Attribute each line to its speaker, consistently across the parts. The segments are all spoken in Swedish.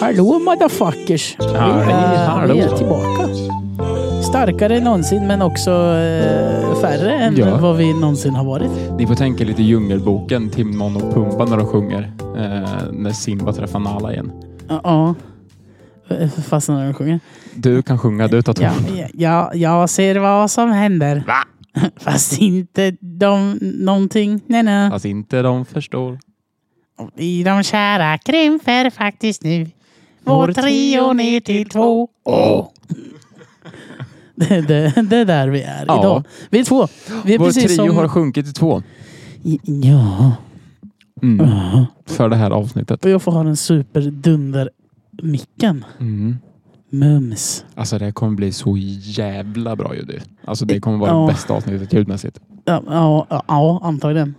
Speaker 1: Hallå motherfuckers! Eh,
Speaker 2: Hallå, hallå.
Speaker 1: Vi är typ- tillbaka. Starkare än någonsin men också eh, färre än
Speaker 2: Ja.
Speaker 1: vad vi någonsin har varit.
Speaker 2: Ni får tänka lite Djungelboken, Timon och Pumba när de sjunger. Eh, när Simba träffar Nala igen.
Speaker 1: Ja. Uh, Fastnar när de sjunger.
Speaker 2: Du kan sjunga, du tar ton.
Speaker 1: Ja, ja, jag ser vad som händer. Va? Fast inte de någonting. Nej, nej.
Speaker 2: Fast inte de förstår.
Speaker 1: I de kära krymper faktiskt nu. Vår trio ner till två. Det, det, det är där vi är
Speaker 2: Ja.
Speaker 1: idag. Vi är två. Vi är
Speaker 2: Vår
Speaker 1: precis
Speaker 2: trio
Speaker 1: som...
Speaker 2: har sjunkit till två
Speaker 1: Ja.
Speaker 2: mm. för det här avsnittet.
Speaker 1: Och jag får ha den superdunder-micken.
Speaker 2: Mm.
Speaker 1: Mums.
Speaker 2: Alltså det här kommer bli så jävla bra ju. du. Alltså det kommer vara
Speaker 1: Ja.
Speaker 2: det bästa avsnittet ljudmässigt.
Speaker 1: Ja, ja, ja, ja antagligen.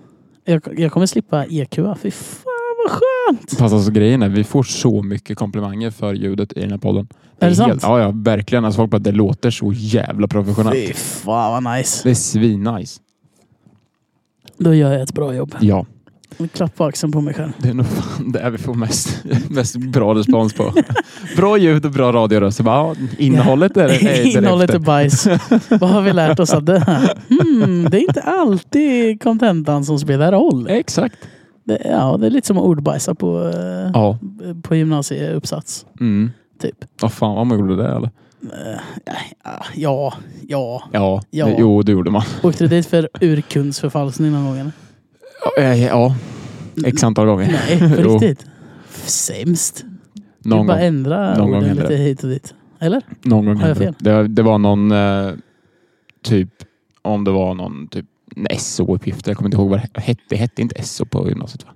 Speaker 1: Jag, jag kommer slippa EQ. Fy fan vad skönt!
Speaker 2: Fast alltså grejen är, vi får så mycket komplimanger för ljudet i den här podden.
Speaker 1: Är det sant?
Speaker 2: Ja, ja, verkligen. Alltså folk bara, det låter så jävla professionellt.
Speaker 1: Fy fan vad nice.
Speaker 2: Det är svinnice.
Speaker 1: Då gör jag ett bra jobb.
Speaker 2: Ja.
Speaker 1: Klapp på axeln på mig själv.
Speaker 2: Det är nog fan det vi får mest, mest bra respons på. Bra ljud och bra radioröster. Bara, ja, innehållet är, är därefter.
Speaker 1: Innehållet är bajs. Vad har vi lärt oss av det här? Hmm, det är inte alltid kontentan som spelar roll.
Speaker 2: Exakt.
Speaker 1: Det, ja, det är lite som att ordbajsa på, eh,
Speaker 2: Ja.
Speaker 1: på gymnasieuppsats.
Speaker 2: Mm.
Speaker 1: Typ.
Speaker 2: Oh, fan vad man gjorde det eller?
Speaker 1: Ah, Ja, ja.
Speaker 2: Ja.
Speaker 1: Ja.
Speaker 2: Det, jo, det gjorde man.
Speaker 1: Åkte du dit för urkundsförfalskning någon gång? eller?
Speaker 2: Ja, Eh, ja. X antal gånger.
Speaker 1: Nej, på
Speaker 2: Jo,
Speaker 1: riktigt. Sämst. Du
Speaker 2: Någon
Speaker 1: bara
Speaker 2: gång,
Speaker 1: ändra
Speaker 2: Någon gång
Speaker 1: orden
Speaker 2: hände
Speaker 1: lite hit och dit. Eller?
Speaker 2: någon gång
Speaker 1: Har jag
Speaker 2: hände det. det. Det var någon eh, typ, om det var någon typ en SO-uppgift. Jag kommer inte ihåg vad det hette. Det hette inte SO på gymnasiet va?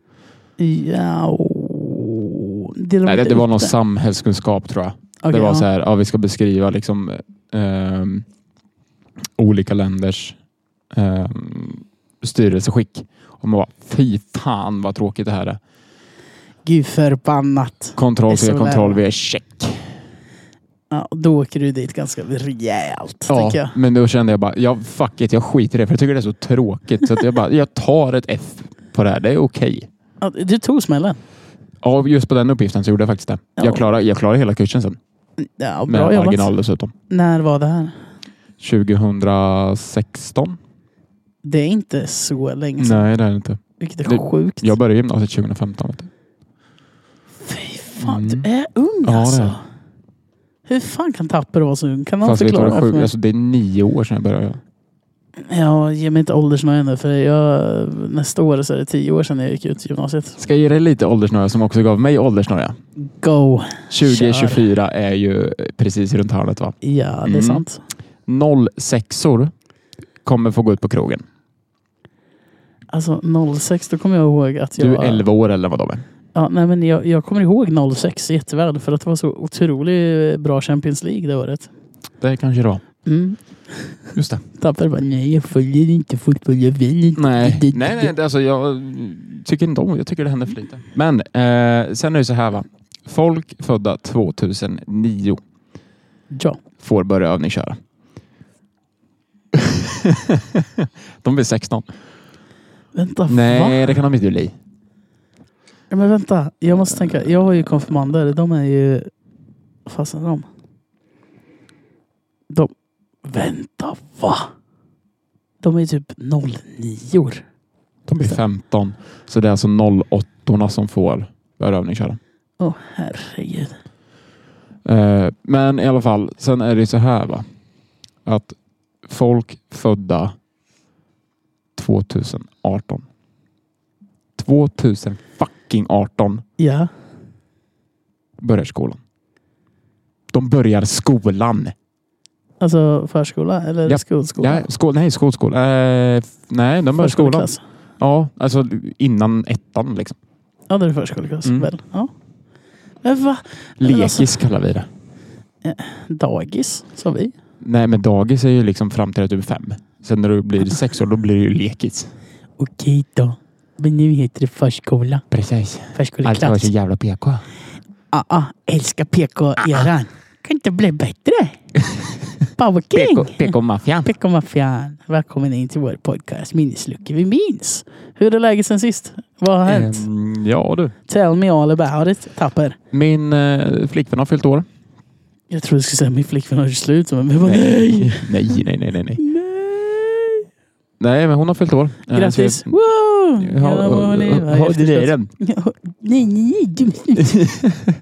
Speaker 1: Ja. åh. Det
Speaker 2: Nej, det, det var någon
Speaker 1: ute.
Speaker 2: samhällskunskap tror jag.
Speaker 1: Okej,
Speaker 2: det var
Speaker 1: ja.
Speaker 2: så här, ja, vi ska beskriva liksom, ehm, olika länders ehm, styrelseskick. Och man bara, fy fan vad tråkigt det här är.
Speaker 1: Gud förbannat.
Speaker 2: Kontroll
Speaker 1: Det är
Speaker 2: V,
Speaker 1: så
Speaker 2: kontroll
Speaker 1: lärare.
Speaker 2: V, check.
Speaker 1: Ja, och då åker du dit ganska rejält.
Speaker 2: Ja,
Speaker 1: Tycker jag.
Speaker 2: men då kände jag bara, ja, fuck it, jag skiter i det för jag tycker det är så tråkigt. Så att jag bara, jag tar ett F på det här, det är okej.
Speaker 1: Ja, du tog smällen.
Speaker 2: Ja, just på den uppgiften så gjorde jag faktiskt det.
Speaker 1: Ja.
Speaker 2: Jag klarade, jag klarade hela kursen sen.
Speaker 1: Ja,
Speaker 2: Med
Speaker 1: bra jobbat.
Speaker 2: marginal dessutom.
Speaker 1: När var det här?
Speaker 2: 2016?
Speaker 1: Det är inte så länge sedan.
Speaker 2: Nej, det är det inte.
Speaker 1: Vilket är
Speaker 2: Det-
Speaker 1: sjukt.
Speaker 2: Jag började gymnasiet 2015. Vet du.
Speaker 1: Fy fan,
Speaker 2: Mm.
Speaker 1: du är ung
Speaker 2: Ja, det är
Speaker 1: alltså.
Speaker 2: jag.
Speaker 1: Hur fan kan Tapper vara så ung? Kan han
Speaker 2: Fast vet du
Speaker 1: förklara
Speaker 2: vad det
Speaker 1: det för
Speaker 2: är sjukt?
Speaker 1: mig?
Speaker 2: Alltså, det är nio år sedan jag började.
Speaker 1: Ja, ge mig inte åldersnöja nu för jag, nästa år så är det tio år sedan jag gick ut gymnasiet.
Speaker 2: Ska jag ge dig lite åldersnöja som också gav mig åldersnöja?
Speaker 1: Go!
Speaker 2: 2024 är ju eh, precis runt hörnet va?
Speaker 1: Ja, det är
Speaker 2: Mm.
Speaker 1: sant.
Speaker 2: 06or kommer få gå ut på krogen.
Speaker 1: Alltså 06, då kommer jag ihåg att jag...
Speaker 2: Du är 11 år eller vad de är.
Speaker 1: Ja, nej, men jag, jag kommer ihåg 06 jätteväl för att det var så otroligt bra Champions League det året.
Speaker 2: Det kanske det var.
Speaker 1: Mm.
Speaker 2: Just det.
Speaker 1: Tapper bara, nej jag följer inte fotboll, jag vill inte.
Speaker 2: Nej,
Speaker 1: Det-
Speaker 2: nej, nej det- alltså, jag tycker inte om Jag tycker det händer för lite. Men eh, sen är det så här va. Folk födda 2009
Speaker 1: Ja.
Speaker 2: får börja övningsköra. de blir 16.
Speaker 1: Vänta,
Speaker 2: Nej,
Speaker 1: va?
Speaker 2: det kan de inte bli.
Speaker 1: Ja, Men vänta, jag måste tänka. Jag har ju konfirmander. De är ju... Vad fasen är de? De... Vänta, va? De är ju typ 09
Speaker 2: De blir
Speaker 1: Så.
Speaker 2: 15. Så det är alltså 08 som får börja övningsköra.
Speaker 1: Åh herregud.
Speaker 2: Eh, men i alla fall, sen är det ju så här va. Att folk födda 2018. 2000 fucking 18
Speaker 1: Ja.
Speaker 2: börjar skolan. De börjar skolan.
Speaker 1: Alltså förskola eller
Speaker 2: Ja.
Speaker 1: skolskola?
Speaker 2: Ja, skol, nej, skolskola. Eh, f- nej, de börjar skolan.
Speaker 1: Förskoleklass.
Speaker 2: Ja, alltså innan ettan liksom.
Speaker 1: Ja, det är förskoleklass.
Speaker 2: Mm.
Speaker 1: Väl? Ja. Men va? Men
Speaker 2: Lekis
Speaker 1: alltså-
Speaker 2: kallar vi det.
Speaker 1: Dagis, sa vi.
Speaker 2: Nej, men dagis är ju liksom fram till att du är fem. Sen när du blir sex år, då blir det ju lekis.
Speaker 1: Okej då. Men nu heter det förskola.
Speaker 2: Precis. Allt var
Speaker 1: Förskoleklass.
Speaker 2: så jävla PK.
Speaker 1: Ah, ah, älskar PK-eran. Kan inte bli bättre. Power King!
Speaker 2: PK-maffian.
Speaker 1: Pekkomaffian, välkommen in till vår podcast Minnesluckor vi minns. Hur är läget sen sist? Vad har hänt?
Speaker 2: Ehm, ja du.
Speaker 1: Tell me all about it, Tapper.
Speaker 2: Min eh, flickvän har fyllt år.
Speaker 1: Jag trodde du skulle säga min flickvän har gjort slut, men jag bara, nej!
Speaker 2: Nej, nej, nej, nej. Nej,
Speaker 1: Nej!
Speaker 2: nej men hon har fyllt år. Eh,
Speaker 1: Grattis!
Speaker 2: så
Speaker 1: Woo!
Speaker 2: jag- Ja,
Speaker 1: Ja, vad
Speaker 2: ja,
Speaker 1: ni- vad
Speaker 2: ja, det är
Speaker 1: efterslut.
Speaker 2: den.
Speaker 1: Ja, Nej, nej, nej.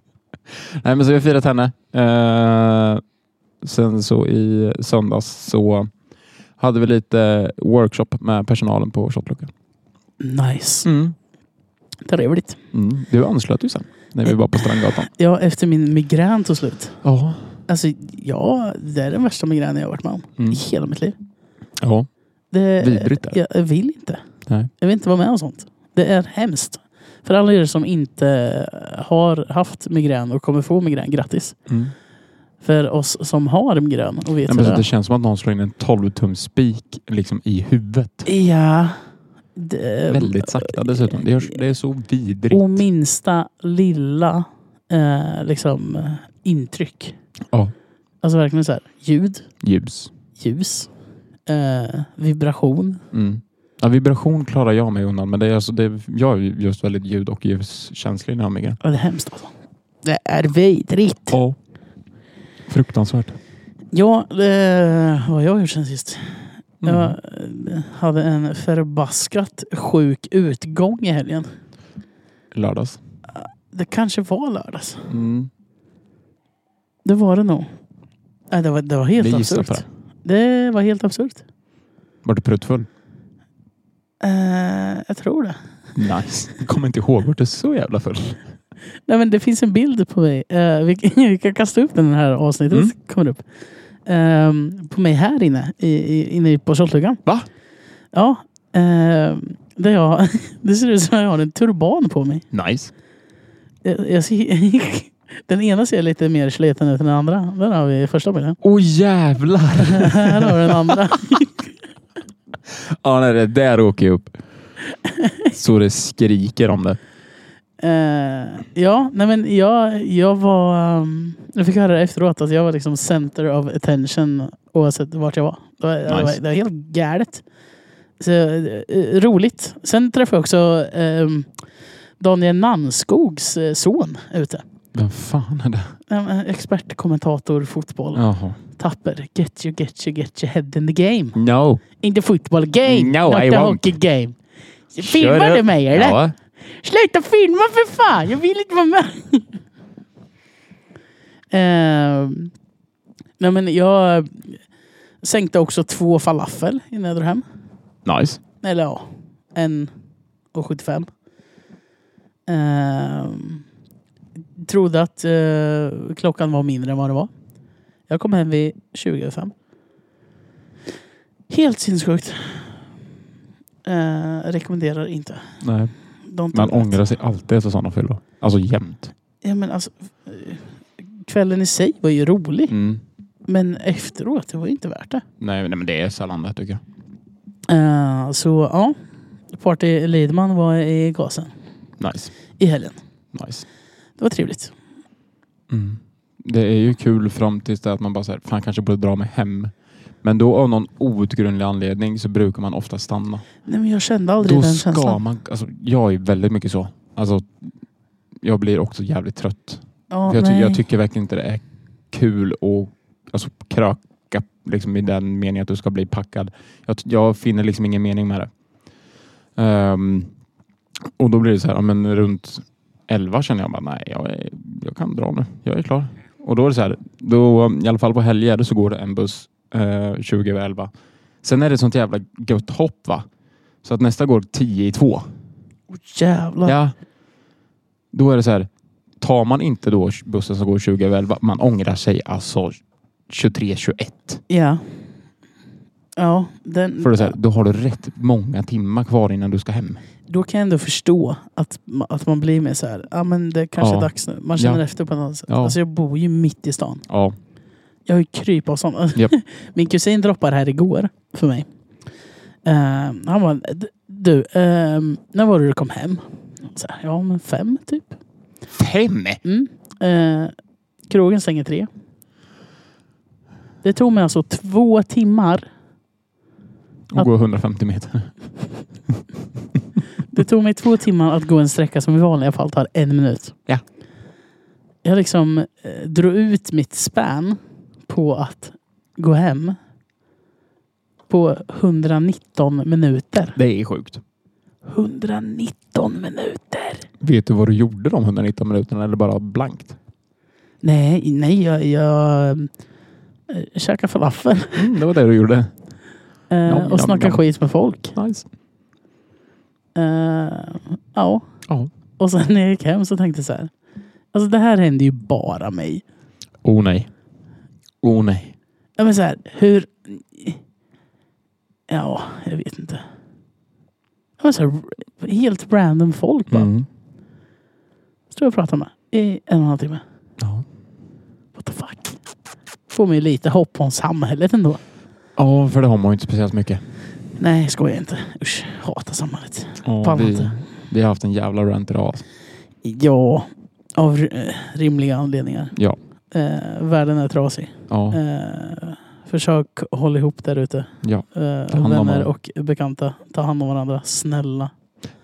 Speaker 2: Nej, men så vi har firat henne. Eh, sen så i söndags så hade vi lite workshop med personalen på Shotluckan.
Speaker 1: Nice.
Speaker 2: Mm.
Speaker 1: Trevligt.
Speaker 2: Mm. Du anslöt ju sen när vi var på Strandgatan.
Speaker 1: Ja, efter min migrän tog slut.
Speaker 2: Ja.
Speaker 1: Alltså, ja, det är den värsta migränen jag har varit med om
Speaker 2: Mm.
Speaker 1: i hela mitt liv.
Speaker 2: Ja.
Speaker 1: Det,
Speaker 2: Vidrigt är det.
Speaker 1: jag, jag vill inte.
Speaker 2: Nej.
Speaker 1: Jag vill inte vara med om sånt. Det är hemskt. För alla er som inte har haft migrän och kommer få migrän, grattis.
Speaker 2: Mm.
Speaker 1: För oss som har migrän och vet
Speaker 2: Nej,
Speaker 1: hur
Speaker 2: men så
Speaker 1: det
Speaker 2: det känns som att någon slår in en 12-tums spik liksom, i huvudet.
Speaker 1: är. Ja. Det,
Speaker 2: Väldigt sakta dessutom. Det, görs, det är så vidrigt.
Speaker 1: Eh, Och minsta lilla eh, liksom, eh, intryck.
Speaker 2: Ja.
Speaker 1: Alltså verkligen så här, ljud,
Speaker 2: Ljus.
Speaker 1: ljus, eh, vibration.
Speaker 2: Mm. Ja, vibration klarar jag mig undan, men det är alltså, det är, jag är ju just väldigt ljud och ljuskänslig när jag har migrän.
Speaker 1: Ja, Det är hemskt alltså. Det är vidrigt.
Speaker 2: Ja. Fruktansvärt.
Speaker 1: Ja, eh, vad har jag gjort sen sist?
Speaker 2: Mm.
Speaker 1: Jag eh, hade en förbaskat sjuk utgång i helgen.
Speaker 2: Lördags.
Speaker 1: Det kanske var lördags.
Speaker 2: Mm.
Speaker 1: Det var det nog. Nej, det, var, det var helt
Speaker 2: Vi gissar på
Speaker 1: absurt. Det var helt absurt.
Speaker 2: Var du pruttfull?
Speaker 1: Eh, jag tror det.
Speaker 2: Nice. Jag kommer inte ihåg. Vart du så jävla full?
Speaker 1: Nej, men det finns en bild på mig. Eh, vi, vi kan kasta upp den i det här avsnittet.
Speaker 2: Mm.
Speaker 1: Kommer upp. Ehm, på mig här inne, i, i, inne på Tjottlugan.
Speaker 2: Va?
Speaker 1: Ja. ehm, där jag, det ser ut som att jag har en turban på mig.
Speaker 2: Nice.
Speaker 1: Jag, jag ser, den ena ser lite mer sliten ut än den andra. Där har vi första bilden.
Speaker 2: Åh oh, jävlar!
Speaker 1: Här har vi den andra.
Speaker 2: ja, nej, det där åker jag upp. Så det skriker om det.
Speaker 1: Eh, ja, nej men jag, jag var... Um, jag fick höra det efteråt att jag var liksom center of attention oavsett vart jag var. Det var, det var,
Speaker 2: Nice.
Speaker 1: det var helt galet. Så, eh, roligt. Sen träffade jag också ehm, Daniel Nanskogs eh, son ute.
Speaker 2: Vem fan är det?
Speaker 1: Eh, Expert, kommentator, fotboll.
Speaker 2: Jaha.
Speaker 1: Tapper. Get you, get you, get your head in the game.
Speaker 2: No.
Speaker 1: Inte football game.
Speaker 2: No,
Speaker 1: not
Speaker 2: I
Speaker 1: the
Speaker 2: won't.
Speaker 1: hockey game.
Speaker 2: Kör
Speaker 1: Filmar
Speaker 2: upp.
Speaker 1: du mig eller?
Speaker 2: Ja.
Speaker 1: Sluta filma för fan! Jag vill inte vara med. Ehm, nej men jag sänkte också två falafel innan jag drog hem.
Speaker 2: Nice.
Speaker 1: Eller ja, en och 75. Ehm, trodde att eh, klockan var mindre än vad det var. Jag kom hem vid 20 över fem. Helt sinnessjukt. Ehm, rekommenderar inte.
Speaker 2: Nej.
Speaker 1: Don't do
Speaker 2: Man
Speaker 1: that.
Speaker 2: ångrar sig alltid efter sådana fyllor. Alltså jämt.
Speaker 1: Ja, men alltså, eh, kvällen i sig var ju rolig,
Speaker 2: Mm.
Speaker 1: men efteråt det var ju inte värt det.
Speaker 2: Nej, nej, men det är sällan det tycker jag.
Speaker 1: Eh, så ja, Party Lidman var i gasen
Speaker 2: Nice.
Speaker 1: i helgen.
Speaker 2: Nice.
Speaker 1: Det var trevligt.
Speaker 2: Mm. Det är ju kul fram tills det att man bara säger, fan kanske borde dra mig hem. Men då av någon outgrundlig anledning så brukar man ofta stanna.
Speaker 1: Nej, men jag kände aldrig
Speaker 2: Då
Speaker 1: den
Speaker 2: ska
Speaker 1: känslan.
Speaker 2: man... Alltså, jag är väldigt mycket så. Alltså, jag blir också jävligt trött.
Speaker 1: Ja,
Speaker 2: För jag, ty-
Speaker 1: nej.
Speaker 2: jag tycker verkligen inte det är kul att alltså, kröka liksom, i den meningen att du ska bli packad. Jag, ty- jag finner liksom ingen mening med det. Ehm, och då blir det så här, ja, men runt 11 känner jag bara, nej, jag, är, jag kan dra nu. Jag är klar. Och då är det så här, då, i alla fall på helger så går det en buss eh, 20 över 11. Sen är det ett sånt jävla gött hopp va? Så att nästa går 10 i 2.
Speaker 1: Åh, jävlar.
Speaker 2: Ja. Då är det så här. Tar man inte då bussen som går 20 över 11, man ångrar sig alltså 23-21.
Speaker 1: Ja. Ja, den,
Speaker 2: För det är så här, då har du rätt många timmar kvar innan du ska hem.
Speaker 1: då kan jag ändå förstå att, ma- att man blir mer så här, ja men det kanske
Speaker 2: Ja.
Speaker 1: är dags nu. Man känner
Speaker 2: Ja.
Speaker 1: efter på ett annat sätt.
Speaker 2: Ja.
Speaker 1: Alltså jag bor ju mitt i stan.
Speaker 2: Ja.
Speaker 1: Jag har ju krypavstånd.
Speaker 2: Japp.
Speaker 1: Min kusin droppade här igår för mig. Eh, han var du, ehm, när var det du kom hem? Så här, ja, men fem typ.
Speaker 2: Fem?
Speaker 1: Mm. Eh, krogen stänger tre. Det tog mig alltså två timmar.
Speaker 2: Och gå 150 meter.
Speaker 1: Det tog mig två timmar att gå en sträcka som i vanliga fall tar en minut.
Speaker 2: Ja.
Speaker 1: Jag liksom eh, drog ut mitt span på att gå hem på 119 minuter.
Speaker 2: Det är sjukt.
Speaker 1: 119 minuter!
Speaker 2: Vet du vad du gjorde de 119 minuterna eller bara blankt?
Speaker 1: Nej, nej, jag, jag eh, käkade falafel
Speaker 2: Mm, det var det du gjorde.
Speaker 1: eh,
Speaker 2: Nom, nom,
Speaker 1: och snackade
Speaker 2: nom.
Speaker 1: skit med folk.
Speaker 2: Nice.
Speaker 1: Eh, ja.
Speaker 2: Ja.
Speaker 1: Och sen när jag gick hem så tänkte jag så här. Alltså det här händer ju bara mig.
Speaker 2: Oh nej. Oh nej.
Speaker 1: Ja men så här, hur... Ja, jag vet inte. Ja, men så här, helt random folk bara.
Speaker 2: Mm.
Speaker 1: Står jag och pratar med i en och en halv timme.
Speaker 2: Ja.
Speaker 1: What the fuck? Får mig lite hopp om samhället ändå.
Speaker 2: ja, för det har man ju inte speciellt mycket.
Speaker 1: Nej, skojar inte. Usch, hatar samhället.
Speaker 2: Ja,
Speaker 1: Pallar
Speaker 2: vi,
Speaker 1: inte.
Speaker 2: vi har haft en jävla rant idag. alltså.
Speaker 1: Ja, av eh, rimliga anledningar.
Speaker 2: Ja.
Speaker 1: Eh, världen är trasig.
Speaker 2: Ja.
Speaker 1: Eh, försök hålla ihop där ute.
Speaker 2: ja. Ta
Speaker 1: Eh,
Speaker 2: hand om
Speaker 1: vänner
Speaker 2: varandra.
Speaker 1: och bekanta. Ta hand om varandra, snälla.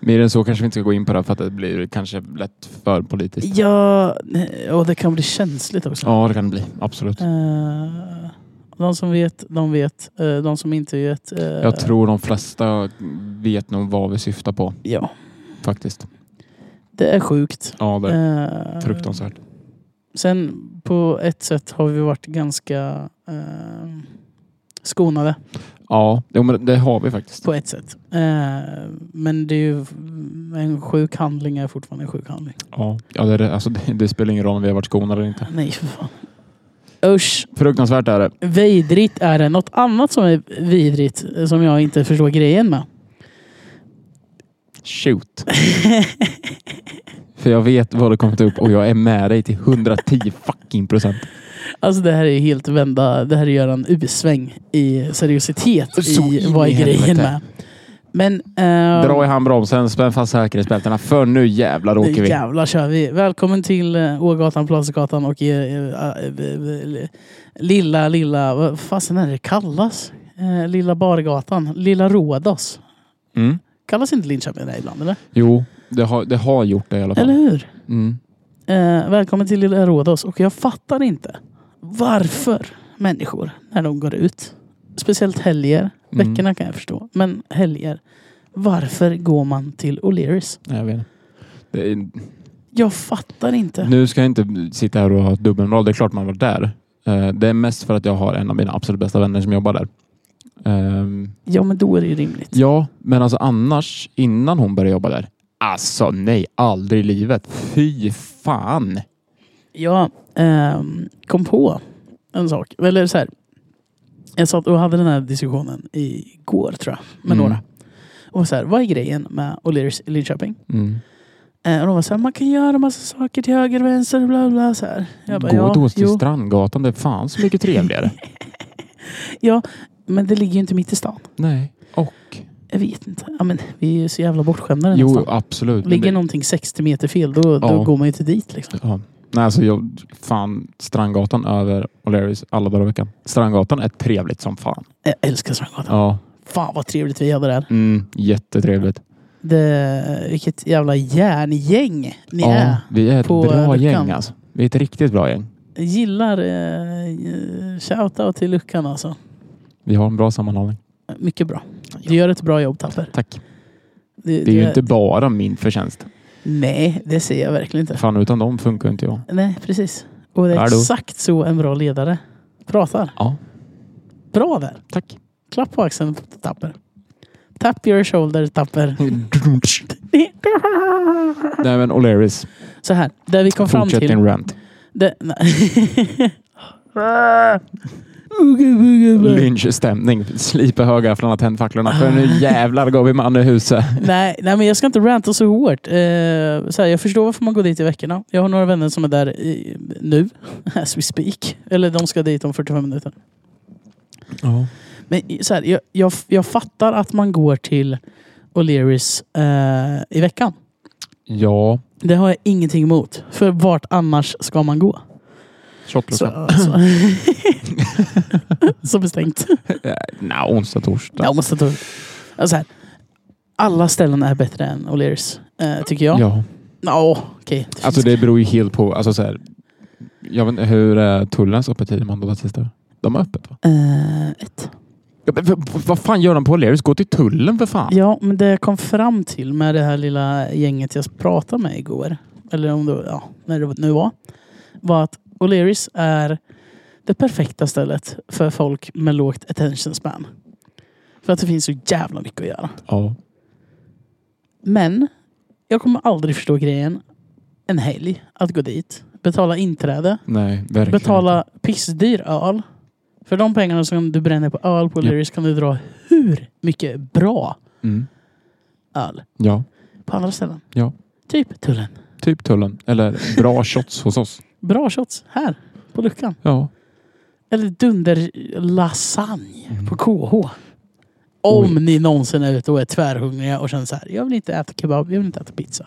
Speaker 2: Mer än så kanske vi inte ska gå in på det för att det blir kanske lätt för politiskt.
Speaker 1: Ja, och det kan bli känsligt också.
Speaker 2: Ja, det kan det bli. Absolut.
Speaker 1: Eh, de som vet, de vet. Eh, de som inte vet. eh,
Speaker 2: Jag tror de flesta vet nog vad vi syftar på
Speaker 1: Ja,
Speaker 2: faktiskt.
Speaker 1: det är sjukt.
Speaker 2: Ja, det är
Speaker 1: Eh,
Speaker 2: fruktansvärt.
Speaker 1: Sen på ett sätt har vi varit ganska eh, skonade.
Speaker 2: Ja, jo, men det har vi faktiskt.
Speaker 1: På ett sätt. Eh, men det är ju en sjuk handling är fortfarande en sjuk handling.
Speaker 2: Ja, ja det, är det. alltså, det, det spelar ingen roll om vi har varit skonade eller inte.
Speaker 1: Nej, för fan. Usch,
Speaker 2: Fruktansvärt är det.
Speaker 1: Vidrigt är det. Något annat som är vidrigt eh, som jag inte förstår grejen med.
Speaker 2: Shoot. För jag vet vad det kommit upp och jag är med dig till 110 fucking procent.
Speaker 1: Alltså det här är ju helt vända. Det här gör en U-sväng i seriositet
Speaker 2: Så
Speaker 1: i
Speaker 2: in
Speaker 1: vad
Speaker 2: i
Speaker 1: är grejen med.
Speaker 2: helvete.
Speaker 1: Men... ehm,
Speaker 2: Dra i handbromsen, spänn fast säkerhetsbältena för nu jävlar åker
Speaker 1: nu
Speaker 2: vi.
Speaker 1: jävlar kör vi. Välkommen till eh, Ågatan, Plansgatan och eh, eh, eh, eh, lilla, lilla... Vad fasen är det kallas? Eh, Lilla Bargatan. Lilla Rådos.
Speaker 2: Mm.
Speaker 1: Kallas inte Linköping det ibland eller?
Speaker 2: Jo, det har, det har gjort det i alla
Speaker 1: Eller
Speaker 2: fall.
Speaker 1: hur?
Speaker 2: Mm.
Speaker 1: Eh, välkommen till Lilla Rhodos och jag fattar inte varför människor när de går ut, speciellt helger,
Speaker 2: Mm.
Speaker 1: veckorna kan jag förstå, men helger, varför går man till O'Learys?
Speaker 2: Nej, Jag vet inte. det är,
Speaker 1: Jag fattar inte.
Speaker 2: Nu ska jag inte sitta här och ha dubbelmoral. Det är klart man var där. Eh, Det är mest för att jag har en av mina absolut bästa vänner som jobbar där. Ehm,
Speaker 1: Ja men då är det ju rimligt.
Speaker 2: Ja, men alltså annars innan hon började jobba där. Alltså nej, aldrig i livet. Fy fan.
Speaker 1: Jag ehm, kom på en sak, eller så här. Jag satt och hade den här diskussionen igår tror jag, med
Speaker 2: Mm.
Speaker 1: några. Och så här, vad är grejen med O'Learys i Linköping?
Speaker 2: Mm.
Speaker 1: Eh, och de var så här, man kan göra massa saker till höger, vänster, bla bla. Så här. Jag bara,
Speaker 2: Gå
Speaker 1: ja,
Speaker 2: då till
Speaker 1: jo,
Speaker 2: Strandgatan. Det är fan så mycket trevligare.
Speaker 1: men det ligger ju inte mitt i stan.
Speaker 2: nej. Och?
Speaker 1: Jag vet inte. Ja, men vi är ju så jävla bortskämda i den här
Speaker 2: Jo,
Speaker 1: stan.
Speaker 2: absolut. Men
Speaker 1: Ligger
Speaker 2: det-
Speaker 1: någonting 60 meter fel, då, då
Speaker 2: Ja.
Speaker 1: går man ju inte dit. Liksom.
Speaker 2: Ja. Nej, alltså jag, fan, Strandgatan över O'Learys alla dagar i veckan. Strandgatan är trevligt som fan.
Speaker 1: Jag älskar Strandgatan.
Speaker 2: Ja,
Speaker 1: Fan vad trevligt vi hade där.
Speaker 2: mm, jättetrevligt.
Speaker 1: Det, vilket jävla järngäng ni är.
Speaker 2: Ja, vi är ett
Speaker 1: på, eh,
Speaker 2: bra
Speaker 1: luckan.
Speaker 2: gäng alltså. Vi är ett riktigt bra gäng.
Speaker 1: Jag gillar eh, shoutout till Luckan alltså.
Speaker 2: Vi har en bra sammanhållning.
Speaker 1: Mycket bra. Du gör ett bra jobb Tapper.
Speaker 2: Tack.
Speaker 1: Du-
Speaker 2: Det är ju
Speaker 1: du-
Speaker 2: inte bara min förtjänst.
Speaker 1: Nej, det ser jag verkligen inte.
Speaker 2: Fan, utan dem funkar inte jag.
Speaker 1: Nej, precis. Och det är
Speaker 2: Hallå.
Speaker 1: exakt så en bra ledare pratar.
Speaker 2: Ja,
Speaker 1: Bra där.
Speaker 2: tack.
Speaker 1: Klapp på axeln, Tapper. Tap your shoulder, Tapper.
Speaker 2: Nej men O'Learys.
Speaker 1: Så här, där vi kom fram
Speaker 2: Fortsätt
Speaker 1: till...
Speaker 2: din rant.
Speaker 1: Det, nej. Uga, uga, uga.
Speaker 2: Lynchstämning. Slipa högafflarna, tänd facklorna. För nu jävlar går vi man i huset.
Speaker 1: nej, nej, men jag ska inte ranta så hårt. Eh, så här, jag förstår varför man går dit i veckorna. Jag har några vänner som är där i, nu, as we speak. Eller de ska dit om 45 minuter.
Speaker 2: Ja.
Speaker 1: Men i- så här, jag, jag, jag fattar att man går till O'Learys eh, i veckan.
Speaker 2: Ja.
Speaker 1: Det har jag ingenting emot. För vart annars ska man gå? Så,
Speaker 2: eh, Shotluckan.
Speaker 1: så, som är stängt.
Speaker 2: Nej, onsdag, torsdag.
Speaker 1: Jag måste ta... Alltså här, alla ställen är bättre än O'Learys, eh, tycker jag. Ja,
Speaker 2: Ja.
Speaker 1: okej. Det
Speaker 2: Alltså
Speaker 1: finns-
Speaker 2: det beror ju helt på. Alltså så här, jag vet inte, hur är tullens öppettider måndag och tisdag? De är öppet va?
Speaker 1: Eh, ett.
Speaker 2: Ja, men, v- v- vad fan gör de på O'Learys? Gå till tullen för fan.
Speaker 1: Ja, men det jag kom fram till med det här lilla gänget jag pratade med igår, eller om det, ja, när det nu var, var att O'Learys är det perfekta stället för folk med lågt attention span. För att det finns så jävla mycket att göra.
Speaker 2: Ja.
Speaker 1: Men jag kommer aldrig förstå grejen en helg att gå dit, betala inträde,
Speaker 2: Nej, verkligen
Speaker 1: betala pissdyr öl. För de pengarna som du bränner på öl på
Speaker 2: Ja.
Speaker 1: O'Learys kan du dra hur mycket bra
Speaker 2: inte. Mm.
Speaker 1: öl
Speaker 2: Ja,
Speaker 1: på andra ställen.
Speaker 2: Ja.
Speaker 1: Typ Tullen.
Speaker 2: typ tullen. Eller bra shots hos oss.
Speaker 1: Bra shots här på luckan.
Speaker 2: Ja.
Speaker 1: Eller dunder lasagne på KH. Om
Speaker 2: Mm. Oj.
Speaker 1: ni någonsin är ute och är tvärhungriga och känner så här, jag vill inte äta kebab, jag vill inte äta pizza.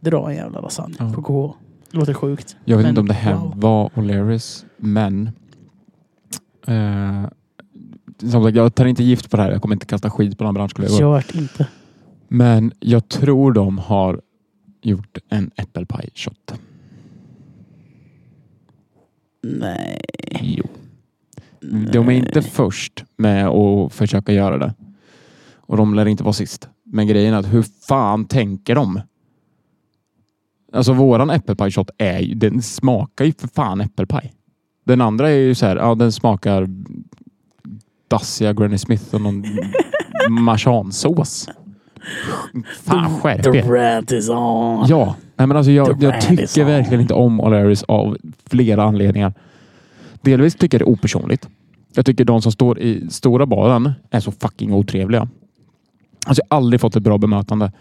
Speaker 1: Dra en jävla lasagne
Speaker 2: Ja.
Speaker 1: på KH. Låter sjukt.
Speaker 2: Jag vet
Speaker 1: Men
Speaker 2: inte om det här
Speaker 1: wow.
Speaker 2: var O'Learys, men... Eh, som sagt, jag tar inte gift på det här. Jag kommer inte kasta skit på någon branschkollegor.
Speaker 1: Kört inte.
Speaker 2: Men jag tror de har gjort en äppelpaj-shot.
Speaker 1: Nej.
Speaker 2: Jo. De är inte först med att försöka göra det. Och de lär inte vara sist. Men grejen är att hur fan tänker de? Alltså våran äppelpajshot är ju, den smakar ju för fan äppelpaj. Den andra är ju så här, ja den smakar dassiga Granny Smith och någon marsansås. Fan skärp
Speaker 1: The
Speaker 2: er.
Speaker 1: rant is on.
Speaker 2: Ja, nej, men alltså jag,
Speaker 1: The
Speaker 2: jag
Speaker 1: brand is
Speaker 2: tycker
Speaker 1: on.
Speaker 2: verkligen inte om O'Learys av flera anledningar. Delvis tycker jag det är opersonligt. Jag tycker de som står i stora baren är så fucking otrevliga. Alltså jag har aldrig fått ett bra bemötande.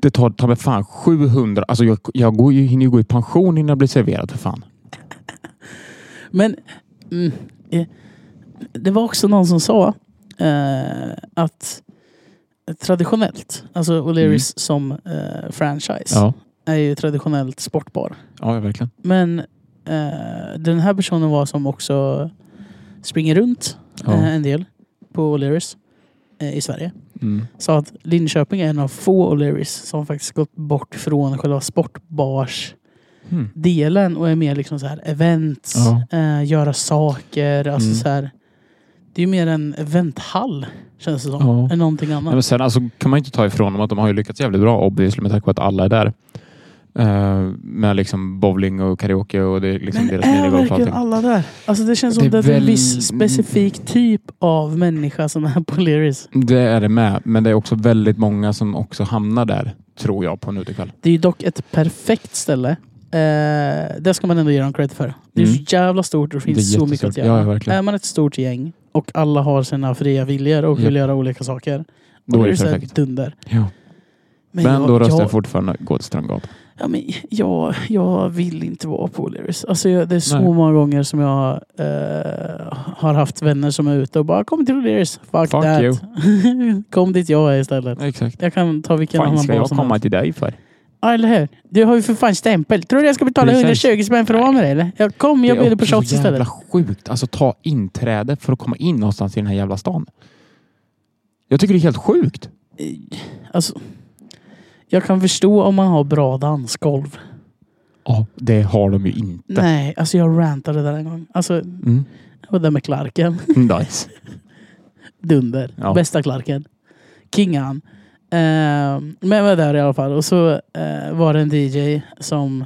Speaker 2: Det tar ta mig fan 700... Alltså jag, jag går ju, hinner ju gå i pension innan jag blir serverad för fan.
Speaker 1: Men mm, eh, det var också någon som sa eh, att traditionellt, alltså O'Learys
Speaker 2: Mm.
Speaker 1: som eh, franchise,
Speaker 2: Ja,
Speaker 1: är ju traditionellt sportbar.
Speaker 2: ja verkligen.
Speaker 1: Men eh, den här personen var som också springer runt
Speaker 2: Ja.
Speaker 1: eh, en del på O'Learys eh, i Sverige.
Speaker 2: Mm.
Speaker 1: Sa att Linköping är en av få O'Learys som faktiskt gått bort från själva sportbars
Speaker 2: Mm.
Speaker 1: delen och är mer liksom så här events,
Speaker 2: Ja.
Speaker 1: eh, göra saker. Alltså
Speaker 2: Mm.
Speaker 1: så här, det är ju mer en eventhall känns det som.
Speaker 2: Ja.
Speaker 1: Än någonting annat.
Speaker 2: Nej, men sen alltså, kan man ju inte ta ifrån dem att de har ju lyckats jävligt bra obviously med tanke på att alla är där. Eh, med liksom bowling och karaoke och det är liksom deras
Speaker 1: är
Speaker 2: minigolf och allting.
Speaker 1: verkligen alla där? Alltså det känns som
Speaker 2: Det
Speaker 1: det
Speaker 2: är
Speaker 1: är en
Speaker 2: väl-
Speaker 1: viss specifik typ av människa som är på Learys.
Speaker 2: Det är det med, men det är också väldigt många som också hamnar där, tror jag, på en utekväll.
Speaker 1: Det är ju dock ett perfekt ställe. Eh, det ska man ändå ge dem cred för. Det är
Speaker 2: Mm.
Speaker 1: så jävla stort och det finns
Speaker 2: Det är
Speaker 1: så mycket att
Speaker 2: jättestort.
Speaker 1: göra. Eh,
Speaker 2: Ja, ja, verkligen.
Speaker 1: är man ett stort gäng och alla har sina fria viljor och vill
Speaker 2: Japp.
Speaker 1: göra olika saker.
Speaker 2: Då är det
Speaker 1: så här
Speaker 2: perfekt.
Speaker 1: Dunder.
Speaker 2: Ja.
Speaker 1: Men,
Speaker 2: Men, då
Speaker 1: jag,
Speaker 2: röstar
Speaker 1: jag,
Speaker 2: jag fortfarande gå till Strandgatan.
Speaker 1: Ja, men jag, jag vill inte vara på O'Learys. Alltså, jag, det är så
Speaker 2: Nej.
Speaker 1: många gånger som jag eh, har haft vänner som är ute och bara kom till O'Learys. Fuck,
Speaker 2: Fuck
Speaker 1: that.
Speaker 2: you.
Speaker 1: kom dit jag är istället.
Speaker 2: Exakt.
Speaker 1: Jag kan ta vilken
Speaker 2: Fan
Speaker 1: annan
Speaker 2: ska
Speaker 1: bar
Speaker 2: jag
Speaker 1: som
Speaker 2: komma
Speaker 1: helst.
Speaker 2: till dig för?
Speaker 1: Ja, eller hur? Du har ju för fan stämpel. Tror du jag ska betala
Speaker 2: Precis.
Speaker 1: 120 spänn för att vara med dig eller? Jag kom, jag bjuder på shots
Speaker 2: jävla
Speaker 1: istället.
Speaker 2: sjukt. Alltså ta inträde för att komma in någonstans i den här jävla stan. Jag tycker det är helt sjukt.
Speaker 1: Alltså, jag kan förstå om man har bra dansgolv.
Speaker 2: Ja, det har de ju inte.
Speaker 1: Nej, alltså jag rantade där en gång. Alltså,
Speaker 2: Mm.
Speaker 1: jag var där med Clarken.
Speaker 2: Nice.
Speaker 1: Dunder.
Speaker 2: Ja.
Speaker 1: Bästa Clarken. Kingan. Eh, men jag var där i alla fall. Och så eh, var det en DJ som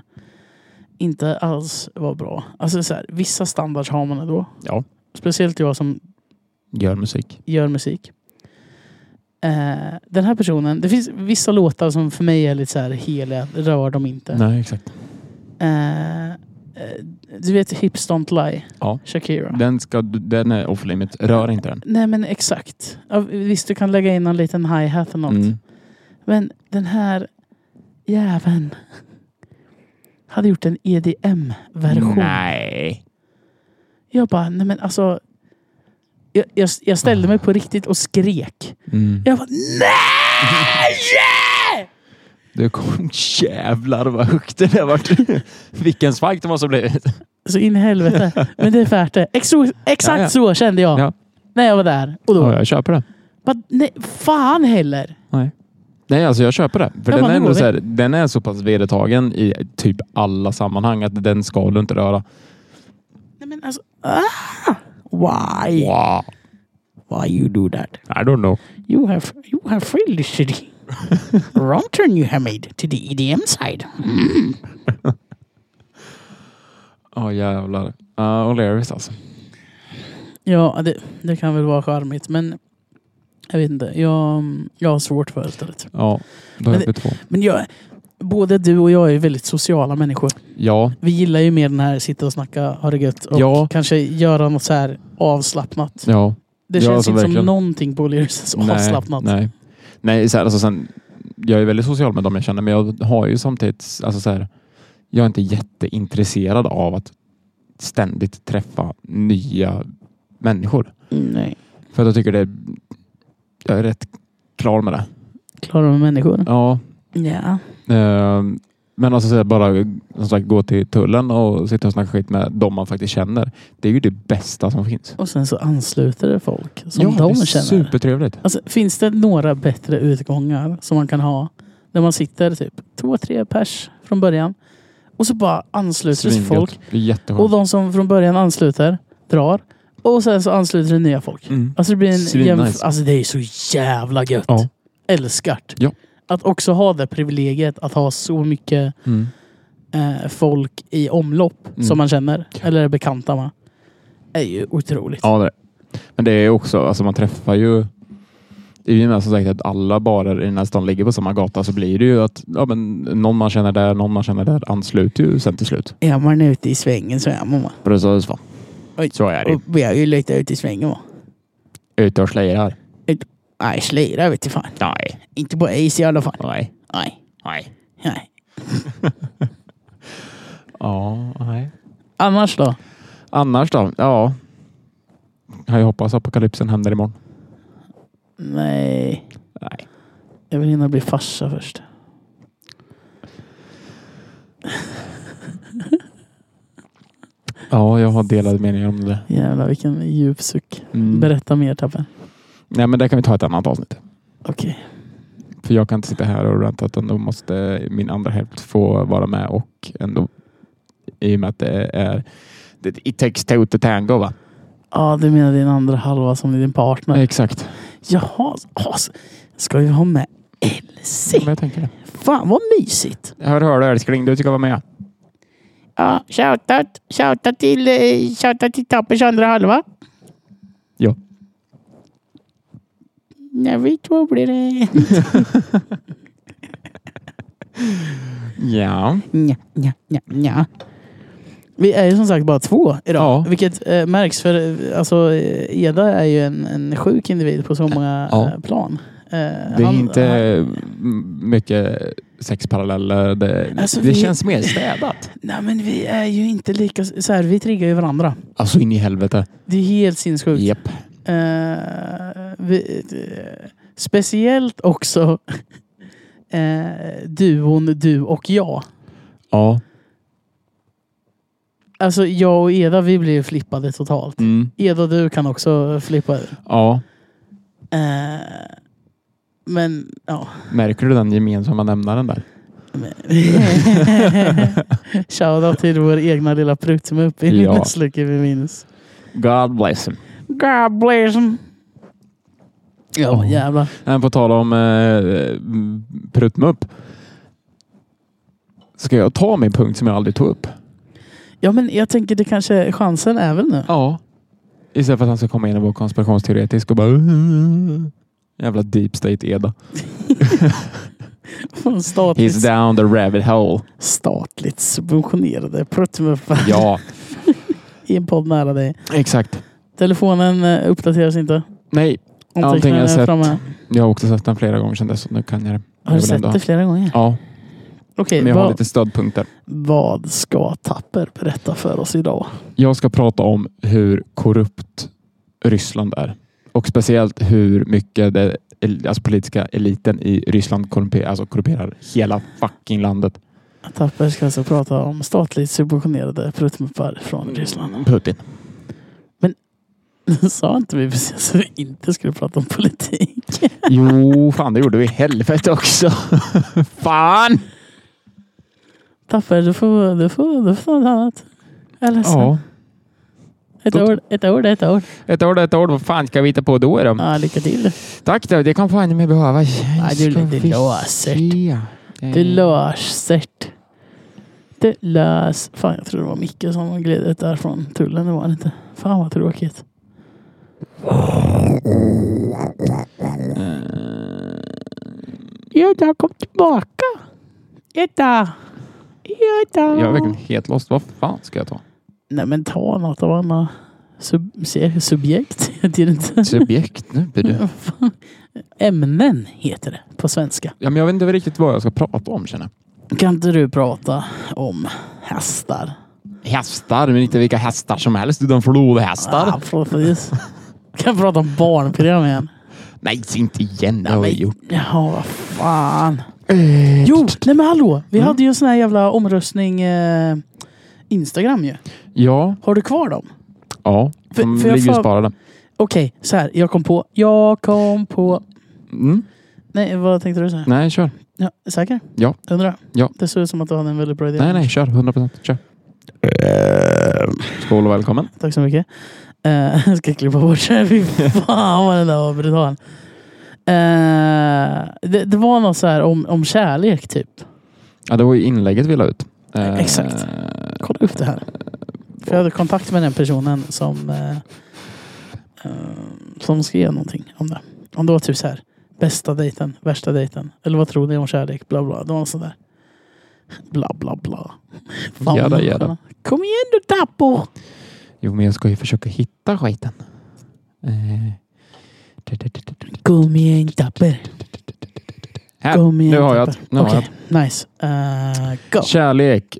Speaker 1: inte alls var bra. Alltså så här, vissa standards har man ändå.
Speaker 2: Ja.
Speaker 1: Speciellt jag som
Speaker 2: Gör musik.
Speaker 1: gör musik. Eh, den här personen, det finns vissa låtar som för mig är lite så här heliga, rör dem inte.
Speaker 2: Nej, exakt.
Speaker 1: Eh, eh, du vet Hips Don't Lie?
Speaker 2: Ja.
Speaker 1: Shakira.
Speaker 2: Den, ska, den är off limit. Rör inte den.
Speaker 1: Nej men exakt. Ja, visst du kan lägga in en liten hi-hat eller något.
Speaker 2: Mm.
Speaker 1: Men den här jäveln hade gjort en E EDM-version.
Speaker 2: Nej.
Speaker 1: Jag bara, nej men alltså. Jag, jag, jag ställde mig på riktigt och skrek.
Speaker 2: Mm.
Speaker 1: Jag bara, nej!
Speaker 2: Det kom jävlar vad högt det där vart. Vilken svank det måste ha blivit.
Speaker 1: Så in i helvete. Men det är värt det. Exo- Exakt
Speaker 2: Ja, ja.
Speaker 1: så kände jag.
Speaker 2: Ja.
Speaker 1: När jag var där. Och då.
Speaker 2: Ja, jag köper det.
Speaker 1: Bara, nej, fan heller.
Speaker 2: Nej. Nej, alltså jag köper det. För
Speaker 1: Ja,
Speaker 2: den,
Speaker 1: men nu
Speaker 2: är
Speaker 1: går
Speaker 2: ändå
Speaker 1: vi.
Speaker 2: så här, den är så pass vedertagen i typ alla sammanhang att den ska du inte röra.
Speaker 1: Nej, men alltså, ah, why?
Speaker 2: Wow.
Speaker 1: Why you do that?
Speaker 2: I don't know.
Speaker 1: You have you have failed city. Wrong turn you have made to the EDM side.
Speaker 2: Ja, jävlar. Uh, O'Learys alltså.
Speaker 1: Ja, det, det kan väl vara charmigt, men jag vet inte. Jag, jag har svårt för det stället.
Speaker 2: Ja, då är
Speaker 1: Men
Speaker 2: vi två.
Speaker 1: Men jag, både du och jag är väldigt sociala människor.
Speaker 2: Ja,
Speaker 1: Vi gillar ju mer den här sitta och snacka, ha det gött och
Speaker 2: Ja.
Speaker 1: kanske göra något så här avslappnat.
Speaker 2: ja.
Speaker 1: Det
Speaker 2: Ja,
Speaker 1: känns
Speaker 2: alltså
Speaker 1: inte som
Speaker 2: verkligen.
Speaker 1: någonting på O'Learys som avslappnat.
Speaker 2: Nej. nej så här, alltså, sen, jag är väldigt social med dem jag känner, men jag har ju samtidigt... Alltså, så här, jag är inte jätteintresserad av att ständigt träffa nya människor.
Speaker 1: Nej.
Speaker 2: För att jag tycker det... Jag är rätt klar med det.
Speaker 1: Klarar med människor?
Speaker 2: Ja.
Speaker 1: Ja.
Speaker 2: Eh, men alltså så här, bara som sagt, gå till tullen och sitta och snacka skit med dem man faktiskt känner. Det är ju det bästa som finns.
Speaker 1: Och sen så ansluter det folk som
Speaker 2: ja,
Speaker 1: de
Speaker 2: det är
Speaker 1: känner.
Speaker 2: supertrevligt.
Speaker 1: Alltså, finns det några bättre utgångar som man kan ha? Där man sitter typ två, tre pers från början. Och så bara ansluter sig
Speaker 2: Svingött.
Speaker 1: folk.
Speaker 2: Det är jätteskönt.
Speaker 1: Och de som från början ansluter drar. Och sen så ansluter det nya folk.
Speaker 2: Mm.
Speaker 1: Alltså det blir en
Speaker 2: Svinnice.
Speaker 1: jämf- Alltså det är så jävla gött.
Speaker 2: Ja.
Speaker 1: Älskart.
Speaker 2: Ja.
Speaker 1: Att också ha det privilegiet att ha så mycket
Speaker 2: Mm.
Speaker 1: eh, folk i omlopp
Speaker 2: Mm.
Speaker 1: som man känner. Eller är bekanta med. är ju otroligt.
Speaker 2: Ja, det är det. Men det är också, alltså man träffar ju... I och med som sagt att alla barer i nästan ligger på samma gata så blir det ju att ja, men, någon man känner där, någon man känner där ansluter ju sen till slut.
Speaker 1: Är man ute i svängen så är man va.
Speaker 2: Precis va.
Speaker 1: Oj.
Speaker 2: Så är det ju.
Speaker 1: Och vi är ju lite ute i svängen va.
Speaker 2: Ute och slirar.
Speaker 1: Nej, slira vet du fan.
Speaker 2: Nej.
Speaker 1: Inte på is i alla fall.
Speaker 2: Nej.
Speaker 1: Nej,
Speaker 2: Nej.
Speaker 1: nej.
Speaker 2: Ja, nej.
Speaker 1: Annars då?
Speaker 2: Annars då? Ja. Jag hoppas apokalypsen händer imorgon.
Speaker 1: Nej.
Speaker 2: Nej.
Speaker 1: Jag vill hinna bli farsa först.
Speaker 2: Ja, jag har delade meningar om det.
Speaker 1: Jävlar vilken djup suck.
Speaker 2: Mm.
Speaker 1: Berätta mer Tabbe.
Speaker 2: Nej, men det kan vi ta ett annat avsnitt.
Speaker 1: Okej.
Speaker 2: För jag kan inte sitta här och ranta utan då måste min andra hälft få vara med och ändå i och med att det är det, It takes two to tango va?
Speaker 1: Ja, du menar din andra halva som är din partner.
Speaker 2: Exakt.
Speaker 1: Jaha. ja, så- Ska vi ha med
Speaker 2: Men
Speaker 1: Elsie?
Speaker 2: jag tänker det.
Speaker 1: Fan vad mysigt.
Speaker 2: Hör, hör du älskling, du ska vara med.
Speaker 1: Ja, shoutout. Shoutout till, eh, shoutout till Tappers andra halva.
Speaker 2: Ja.
Speaker 1: När vi två blir det...
Speaker 2: Ja.
Speaker 1: Nja, nja, nja, nja. Vi är ju som sagt bara två idag.
Speaker 2: Ja.
Speaker 1: Vilket eh, märks för eh, alltså, eh, Eda är ju en, en sjuk individ på så många
Speaker 2: Ja.
Speaker 1: eh, plan. Eh,
Speaker 2: Det är inte m- mycket sexparalleller. Det,
Speaker 1: Alltså,
Speaker 2: det
Speaker 1: vi-
Speaker 2: känns mer städat.
Speaker 1: nej men vi är ju inte lika... Så här, vi triggar ju varandra.
Speaker 2: Alltså in i helvete.
Speaker 1: Det är helt sinnessjukt.
Speaker 2: Japp.
Speaker 1: Eh, vi, eh, speciellt också eh, duon du och jag.
Speaker 2: Ja.
Speaker 1: Alltså jag och Eda vi blir ju flippade totalt.
Speaker 2: Mm.
Speaker 1: Eda du kan också flippa ur.
Speaker 2: Ja.
Speaker 1: Eh, men ja.
Speaker 2: Märker du den gemensamma nämnaren där?
Speaker 1: Shoutout till vår egna lilla prut som är uppe i
Speaker 2: Ja.
Speaker 1: minnesluckan vi minns.
Speaker 2: God bless him.
Speaker 1: God bless him. Ja,
Speaker 2: Ja.
Speaker 1: jävlar.
Speaker 2: Men på tal om eh, pruttmupp. Ska jag ta min punkt som jag aldrig tog upp?
Speaker 1: Ja, men jag tänker det kanske chansen är väl nu.
Speaker 2: Ja. Istället för att han ska komma in och vara konspirationsteoretisk och bara... "Äh, Jävla deep state Eda. He's
Speaker 1: Statligt,
Speaker 2: down the rabbit hole.
Speaker 1: statligt subventionerade pruttmuffar
Speaker 2: Ja,
Speaker 1: i en podd nära dig.
Speaker 2: exakt.
Speaker 1: Telefonen eh, uppdateras inte.
Speaker 2: Nej, Allting
Speaker 1: Anteckningarna
Speaker 2: jag
Speaker 1: är
Speaker 2: sett.
Speaker 1: framme.
Speaker 2: jag har också sett den flera gånger sedan dess och nu kan jag det.
Speaker 1: Har
Speaker 2: Jag
Speaker 1: du
Speaker 2: vill ändå
Speaker 1: sett
Speaker 2: ha-
Speaker 1: det flera gånger?
Speaker 2: Ja,
Speaker 1: Okej,
Speaker 2: men jag har
Speaker 1: vad,
Speaker 2: lite stödpunkter.
Speaker 1: vad ska Tapper berätta för oss idag?
Speaker 2: Jag ska prata om hur korrupt Ryssland är. Och speciellt hur mycket det, alltså politiska eliten i Ryssland korrumperar, alltså korrumperar hela fucking landet.
Speaker 1: Tapper ska alltså prata om statligt subventionerade pruttmuppar
Speaker 2: Mm.
Speaker 1: från Ryssland.
Speaker 2: Putin.
Speaker 1: Sa inte vi precis att vi inte skulle prata om politik?
Speaker 2: Jo, fan det gjorde vi i helvete också. fan!
Speaker 1: Tapper, du får, du får, du får ta något annat. Jag är ledsen.
Speaker 2: Ja.
Speaker 1: Ett
Speaker 2: då-
Speaker 1: ord, ett ord, ett ord.
Speaker 2: Ett ord, ett ord. Vad fan ska vi hitta på då? Då?
Speaker 1: Ja, lycka till.
Speaker 2: Tack då, det kan fan mig behövas.
Speaker 1: Nej, du-
Speaker 2: Ska
Speaker 1: det
Speaker 2: vi
Speaker 1: löser det.
Speaker 2: se.
Speaker 1: Det löser det. Det lös... Fan, jag tror det var Micke som gled ut där från tullen. Det var det inte. Fan vad tråkigt. Ja, jag kom tillbaka. Jetta. Jetta.
Speaker 2: Jag är verkligen helt lost. Vad fan ska jag ta?
Speaker 1: Nej, men ta något av andra sub se- subjekt. Jag vet inte.
Speaker 2: Subjekt nu blir det.
Speaker 1: Ämnen heter det på svenska.
Speaker 2: Ja, men jag vet inte riktigt vad jag ska prata om känner
Speaker 1: Kan inte du prata om hästar?
Speaker 2: jag. Hästar, men inte vilka hästar som helst utan flodhästar.
Speaker 1: Ah, precis. Kan prata om barnprogram igen.
Speaker 2: Nej, inte igen. Det har vi gjort.
Speaker 1: Ja, vad fan. Jo, nej men hallå.
Speaker 2: Mm.
Speaker 1: Vi hade ju en sån här jävla omröstning eh, Instagram ju.
Speaker 2: Ja,
Speaker 1: Har du kvar dem?
Speaker 2: ja.
Speaker 1: För-
Speaker 2: De
Speaker 1: för jag
Speaker 2: ligger
Speaker 1: får-
Speaker 2: ju sparade.
Speaker 1: Okej, så här. Jag kom på. Jag kom på.
Speaker 2: Mm.
Speaker 1: Nej, vad tänkte du säga?
Speaker 2: Nej, kör.
Speaker 1: Ja, säker?
Speaker 2: Ja.
Speaker 1: Undrar.
Speaker 2: Ja.
Speaker 1: Det såg ut som att du hade en väldigt bra idé.
Speaker 2: Nej, nej, kör. 100 procent. Kör. Eh. Skål och välkommen.
Speaker 1: Tack så mycket. Eh, Jag ska klippa bort det här. Fy fan vad den där var brutal. Eh, det, det var något så här om, om kärlek typ.
Speaker 2: Ja, det var ju inlägget vi la ut. Eh,
Speaker 1: Exakt. Kolla upp det här. För jag hade kontakt med den personen som, eh, eh, som skrev någonting om det. Om det var typ så här. Bästa dejten, värsta dejten. Eller vad tror ni om kärlek? Bla bla. Det var något sånt där. Bla bla bla. Fan,
Speaker 2: Jada,
Speaker 1: vad-
Speaker 2: jada.
Speaker 1: Kom igen du Tappo!
Speaker 2: Jo, men jag ska ju försöka hitta skiten. Eh.
Speaker 1: Kom igen Tapper.
Speaker 2: Här,
Speaker 1: Kom igen
Speaker 2: Äh, nu har jag
Speaker 1: Tapper.
Speaker 2: ett. Nu har jag
Speaker 1: Okej, Nice. Eh, go.
Speaker 2: Kärlek